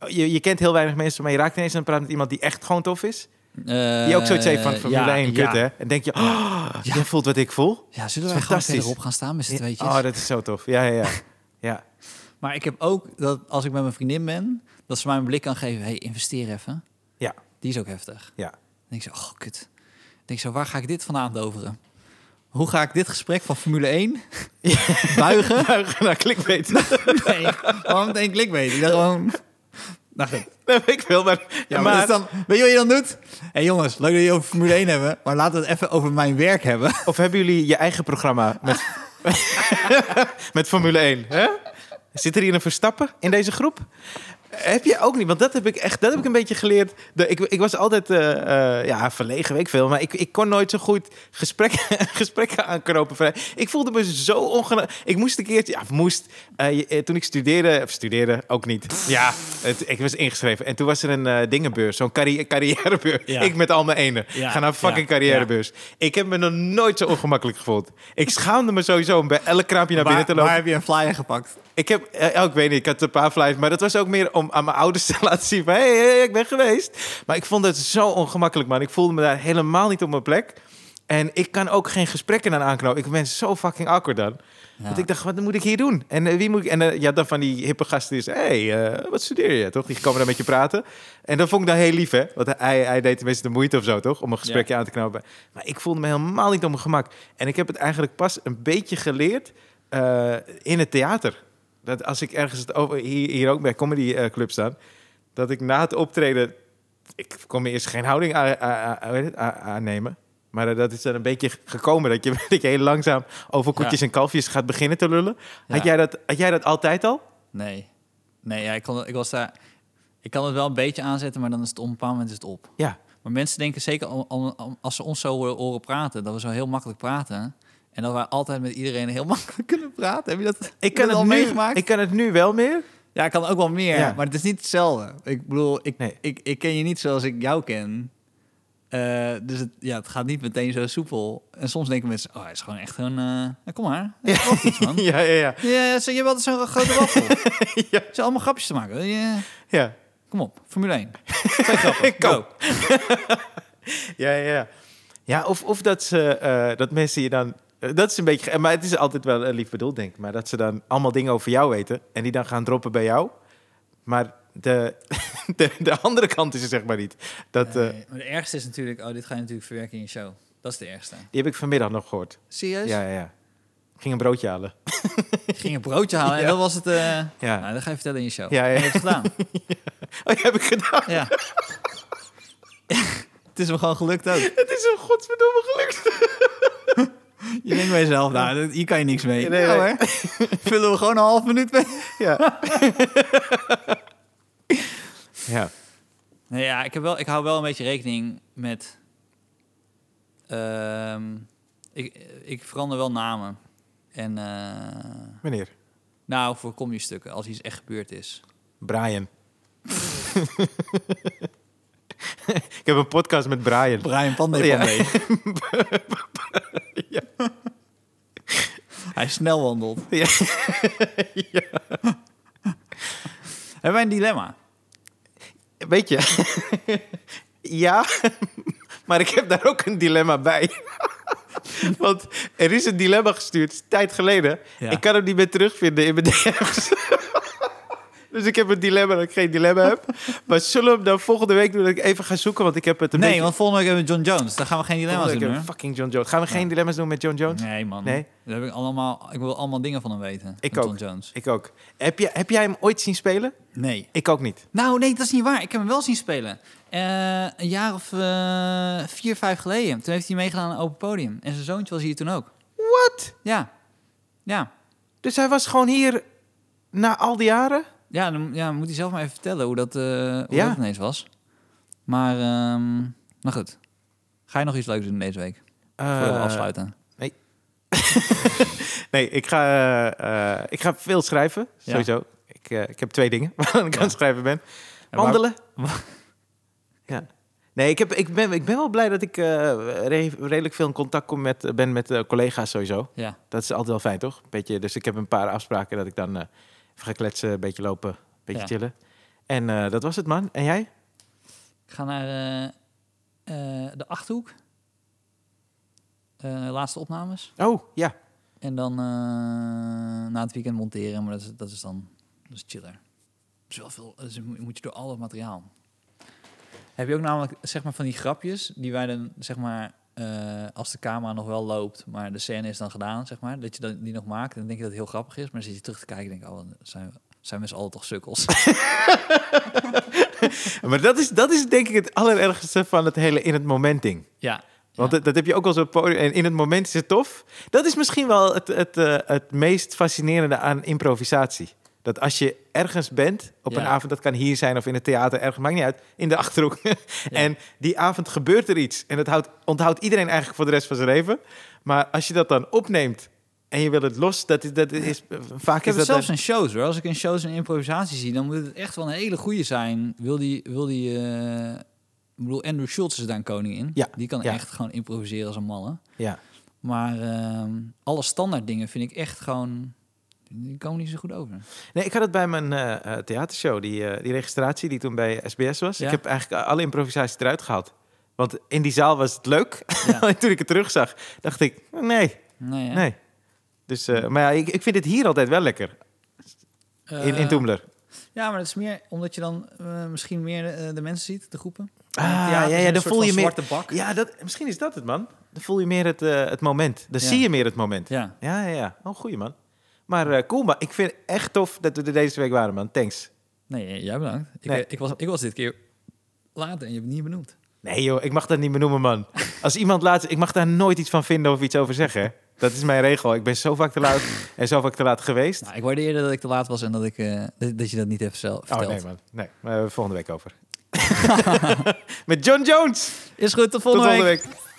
Speaker 1: Je, je kent heel weinig mensen, maar je raakt ineens aan het praten met iemand die echt gewoon tof is.
Speaker 2: eh,
Speaker 1: Die ook zoiets heeft van Formule
Speaker 2: ja,
Speaker 1: 1, kut
Speaker 2: ja.
Speaker 1: hè? En denk je, oh,
Speaker 2: Ja.
Speaker 1: jij voelt wat ik voel?
Speaker 2: Ja, zullen
Speaker 1: is
Speaker 2: wij gewoon
Speaker 1: fantastisch.
Speaker 2: verderop gaan staan met z'n tweetjes?
Speaker 1: Oh, dat is zo tof. Ja, ja, ja.
Speaker 2: *laughs*
Speaker 1: ja. *laughs*
Speaker 2: Maar ik heb ook dat als ik met mijn vriendin ben... dat ze mij een blik kan geven. hey, investeer even.
Speaker 1: Ja.
Speaker 2: Die is ook heftig.
Speaker 1: Ja.
Speaker 2: Dan denk ik zo, oh kut. Dan denk ik zo, waar ga ik dit vandaan doveren? Hoe ga ik dit gesprek van Formule
Speaker 1: *laughs*
Speaker 2: 1 buigen?
Speaker 1: nou, clickbait. *laughs* Dat
Speaker 2: Nee, gewoon meteen clickbait. Ik dacht gewoon... Nou, goed.
Speaker 1: weet ik wel, maar...
Speaker 2: ja, maar, dat is dan, weet je wat je dan doet? Hé hey, jongens, leuk dat jullie over Formule 1 hebben, maar laten we het even over mijn werk hebben.
Speaker 1: Of hebben jullie je eigen programma met, met Formule 1? Hè? Zit er hier een Verstappen in deze groep? Heb je ook niet, want dat heb ik echt, dat heb ik een beetje geleerd. De, ik, ik was altijd eh, eh, ja, verlegen, weet ik veel, maar ik, ik kon nooit zo goed gesprekken, *laughs* gesprekken aanknopen. Vrij. Ik voelde me zo ongenaamd. Ik moest een keertje, ja, moest, eh, je- eh, toen ik studeerde, of studeerde ook niet. Ja, het, ik was ingeschreven en toen was er een eh, dingenbeurs, zo'n carri- *laughs* carrièrebeurs.
Speaker 2: Ja.
Speaker 1: Ik met al mijn ene.
Speaker 2: Ja,
Speaker 1: Ga naar fucking
Speaker 2: ja,
Speaker 1: carrièrebeurs. Ik heb me nog nooit zo ongemakkelijk gevoeld. Ik schaamde me sowieso om bij elk kraampje naar binnen te lopen.
Speaker 2: heb je een flyer gepakt?
Speaker 1: Ik heb, eh, oh, ik weet niet, ik had een paar flyers, maar dat was ook meer om aan mijn ouders *laughs* te laten zien van, hé, hey, hey, ik ben geweest. Maar ik vond het zo ongemakkelijk, man. Ik voelde me daar helemaal niet op mijn plek. En ik kan ook geen gesprekken aan aanknopen. Ik ben zo fucking awkward dan. Dat ik dacht, wat moet ik hier doen? En eh, wie moet ik... En eh, ja, dan van die hippe gasten die zeggen, hé, hey, eh, wat studeer je, toch? Die komen dan met je praten. En dat vond ik dan heel lief, hè? Want hij, hij deed tenminste de moeite of zo, toch? Om een gesprekje aan te knopen. Maar ik voelde me helemaal niet op mijn gemak. En ik heb het eigenlijk pas een beetje geleerd eh, in het theater. Dat als ik ergens het over, hier, hier ook bij comedy eh, club staan, dat ik na het optreden, ik kon me eerst geen houding aan- aan- aan- weet het, aan- aannemen. Maar eh, dat is dan een beetje gekomen dat je, *laughs* dat je heel langzaam over koetjes en kalfjes gaat beginnen te lullen. Had,
Speaker 2: Ja.
Speaker 1: jij dat, had jij dat altijd al?
Speaker 2: Nee. Nee, ja, ik, kon, ik was daar... Ik kan het wel een beetje aanzetten, maar dan is het op een bepaald moment is het op.
Speaker 1: Ja.
Speaker 2: Maar mensen denken zeker al- al- al- als ze ons zo horen, horen praten, dat we zo heel makkelijk praten. En dat wij altijd met iedereen heel *laughs* makkelijk kunnen praten. Heb je dat,
Speaker 1: Ik kan,
Speaker 2: dat
Speaker 1: het
Speaker 2: al
Speaker 1: nu,
Speaker 2: meegemaakt?
Speaker 1: ik kan het nu wel meer.
Speaker 2: Ja, ik kan ook wel meer,
Speaker 1: Ja.
Speaker 2: maar het is niet hetzelfde. Ik bedoel, ik,
Speaker 1: Nee.
Speaker 2: ik, ik ken je niet zoals ik jou ken. Eh, dus het, ja, het gaat niet meteen zo soepel. En soms denken mensen, oh, hij is gewoon echt een... eh, ja, kom maar, ja. iets, man.
Speaker 1: *laughs* Ja, ja, ja.
Speaker 2: Ja, ze- je hebt altijd zo'n grote
Speaker 1: *laughs*
Speaker 2: waffel. ja. Ze allemaal grapjes te maken. Ja,
Speaker 1: ja.
Speaker 2: kom op, Formule 1.
Speaker 1: *laughs*
Speaker 2: Twee grappen,
Speaker 1: Go.
Speaker 2: go.
Speaker 1: Ja, ja, ja. Ja, of, of dat, ze, eh, dat mensen je dan... eh, Dat is een beetje... ge- Maar het is altijd wel eh, lief bedoeld, denk ik. Maar dat ze dan allemaal dingen over jou weten... en die dan gaan droppen bij jou. Maar de, *laughs* de, de andere kant is er zeg maar niet. Dat, eh,
Speaker 2: Nee, maar de ergste is natuurlijk, oh, dit ga je natuurlijk verwerken in je show. Dat is de ergste.
Speaker 1: die heb ik vanmiddag nog gehoord.
Speaker 2: Serieus?
Speaker 1: Ja, ja, ja. Ik ging een broodje halen.
Speaker 2: Ik ging een broodje halen en
Speaker 1: Ja.
Speaker 2: dat was het... eh
Speaker 1: Ja.
Speaker 2: nou, dat ga je vertellen in je show.
Speaker 1: Ja, ja. *laughs*
Speaker 2: En je hebt het gedaan.
Speaker 1: Oh, die heb ik gedaan.
Speaker 2: Ja. *laughs* Het is me gewoon gelukt ook.
Speaker 1: Het is een godsverdomme gelukt.
Speaker 2: Je denkt bij jezelf, nou, dat- hier kan je niks mee.
Speaker 1: Nee,
Speaker 2: Nou,
Speaker 1: nee. *laughs*
Speaker 2: hè. Vullen we gewoon een half minuut mee.
Speaker 1: Ja. *laughs* ja.
Speaker 2: Nee, ja, ik, heb wel, ik hou wel een beetje rekening met... ehm, ik, ik verander wel namen. En, eh,
Speaker 1: Meneer.
Speaker 2: nou, voor kom je stukken, als iets echt gebeurd is.
Speaker 1: Brian. *laughs* ik heb een podcast met Brian.
Speaker 2: Brian Pandey
Speaker 1: Ja.
Speaker 2: Pandey.
Speaker 1: *laughs*
Speaker 2: Hij snel wandelt.
Speaker 1: Ja. *laughs*
Speaker 2: Hebben wij een dilemma?
Speaker 1: Weet je? *laughs* ja, maar ik heb daar ook een dilemma bij. *laughs* Want er is een dilemma gestuurd, een tijd geleden.
Speaker 2: Ja.
Speaker 1: Ik kan hem niet meer terugvinden in mijn DM's. *laughs* dus ik heb een dilemma dat ik geen dilemma heb. Maar zullen we hem dan volgende week doen dat ik even ga zoeken? Want ik heb het een
Speaker 2: nee,
Speaker 1: beetje...
Speaker 2: want volgende week hebben we John Jones. Dan gaan we geen dilemma's
Speaker 1: Volgende
Speaker 2: doen,
Speaker 1: week hebben
Speaker 2: hoor.
Speaker 1: we fucking John Jones. Gaan we geen dilemma's doen met John Jones?
Speaker 2: Nee, man.
Speaker 1: Nee?
Speaker 2: Daar heb ik, allemaal, ik wil allemaal dingen van hem weten.
Speaker 1: Ik
Speaker 2: van
Speaker 1: ook.
Speaker 2: John Jones.
Speaker 1: Ik ook. Heb, je, heb jij hem ooit zien spelen?
Speaker 2: Nee.
Speaker 1: Ik ook niet.
Speaker 2: Nou, nee, dat is niet waar. Ik heb hem wel zien spelen. Eh, een jaar of eh, vier, vijf geleden. Toen heeft hij meegedaan aan een open podium. En zijn zoontje was hier toen ook.
Speaker 1: Wat?
Speaker 2: Ja. Ja.
Speaker 1: Dus hij was gewoon hier na al die jaren?
Speaker 2: Ja, dan ja, moet hij zelf maar even vertellen hoe dat, eh hoe
Speaker 1: Ja.
Speaker 2: dat ineens was. Maar, ehm nou goed. Ga je nog iets leuks doen deze week? Voordat we
Speaker 1: Eh,
Speaker 2: afsluiten.
Speaker 1: Nee, ik ga, eh, eh, ik ga veel schrijven,
Speaker 2: Ja.
Speaker 1: sowieso. Ik, eh, ik heb twee dingen *laughs* waar ik aan het schrijven ben.
Speaker 2: En waar-
Speaker 1: *laughs* Wandelen. Ja. Nee, ik, heb, ik, ben, ik ben wel blij dat ik eh, re- redelijk veel in contact kom met, ben met eh, collega's sowieso.
Speaker 2: Ja.
Speaker 1: Dat is altijd wel fijn, toch? Beetje, dus ik heb een paar afspraken dat ik dan eh even ga kletsen, een beetje lopen, een beetje
Speaker 2: Ja.
Speaker 1: chillen. En eh, dat was het, man. En jij?
Speaker 2: Ik ga naar eh, eh, de Achthoek. Eh, laatste opnames.
Speaker 1: Oh, ja.
Speaker 2: En dan eh, na het weekend monteren, maar dat is, dat is dan dat is chiller. Het is wel veel, dus moet moet je door al het materiaal. Heb je ook namelijk zeg maar van die grapjes die wij dan zeg maar eh, als de camera nog wel loopt, maar de scène is dan gedaan zeg maar, dat je dan die nog maakt en dan denk je dat het heel grappig is, maar dan zit je terug te kijken en denk je, oh, dan zijn, zijn we z'n allen toch sukkels.
Speaker 1: Maar dat is, dat is denk ik het allerergste van het hele in het moment ding.
Speaker 2: ja.
Speaker 1: Want dat, dat heb je ook wel zo'n podium. En in het moment is het tof. Dat is misschien wel het, het, eh, het meest fascinerende aan improvisatie. Dat als je ergens bent, op een
Speaker 2: Ja.
Speaker 1: avond, dat kan hier zijn of in het theater, ergens, maakt niet uit, in de achterhoek. *laughs* en die avond gebeurt er iets. En dat houdt, onthoudt iedereen eigenlijk voor de rest van zijn leven. Maar als je dat dan opneemt en je wil het los, dat is, dat is vaak
Speaker 2: Ik heb
Speaker 1: is
Speaker 2: het
Speaker 1: dat
Speaker 2: zelfs in shows hoor. Als ik in shows en improvisatie zie, dan moet het echt wel een hele goede zijn. Wil die, wil die eh, ik bedoel, Andrew Schultz is daar een koning in.
Speaker 1: Ja,
Speaker 2: Die kan
Speaker 1: ja.
Speaker 2: echt gewoon improviseren als een malle.
Speaker 1: Ja.
Speaker 2: Maar ehm, alle standaard dingen vind ik echt gewoon, die komen niet zo goed over.
Speaker 1: Nee, ik had het bij mijn eh, eh, theatershow, die, eh, die registratie die toen bij SBS was.
Speaker 2: Ja.
Speaker 1: Ik heb eigenlijk alle improvisaties eruit gehaald. Want in die zaal was het leuk.
Speaker 2: Ja.
Speaker 1: En *laughs* toen ik het terugzag, dacht ik, nee,
Speaker 2: Nee, hè?
Speaker 1: nee. Dus, eh, maar ja, ik, ik vind het hier altijd wel lekker, in, in
Speaker 2: Eh,
Speaker 1: Toemler.
Speaker 2: Ja, maar dat is meer omdat je dan eh, misschien meer eh, de mensen ziet, de groepen.
Speaker 1: Ah,
Speaker 2: Het theater
Speaker 1: ja,
Speaker 2: is
Speaker 1: ja,
Speaker 2: een
Speaker 1: dan
Speaker 2: soort
Speaker 1: voel
Speaker 2: van
Speaker 1: je meer-
Speaker 2: zwarte bak. Ja.
Speaker 1: Ja, dat, misschien is dat het, man. Dan voel je meer het, eh, het moment. Dan
Speaker 2: Ja.
Speaker 1: zie je meer het moment. Ja, ja, ja. Oh, goeie, man. Maar eh, cool, man. Ik vind het echt tof dat we er deze week waren, man. Thanks.
Speaker 2: Nee, jij bedankt. Ik, eh,
Speaker 1: Nee.
Speaker 2: ik, was, ik was dit keer later en je hebt het niet benoemd.
Speaker 1: Nee joh, ik mag dat niet benoemen, man. Als iemand laat... Ik mag daar nooit iets van vinden of iets over zeggen. hè. Dat is mijn regel. Ik ben zo vaak te laat en zo vaak te laat geweest.
Speaker 2: Nou, ik waardeerde dat ik te laat was en dat, ik, eh, dat, dat je dat niet hebt zelf
Speaker 1: Oh
Speaker 2: verteld.
Speaker 1: nee, man. Nee, eh, maar we hebben het volgende week over. *laughs* Met John Jones.
Speaker 2: Is goed, tot
Speaker 1: Tot
Speaker 2: volgende week.
Speaker 1: week.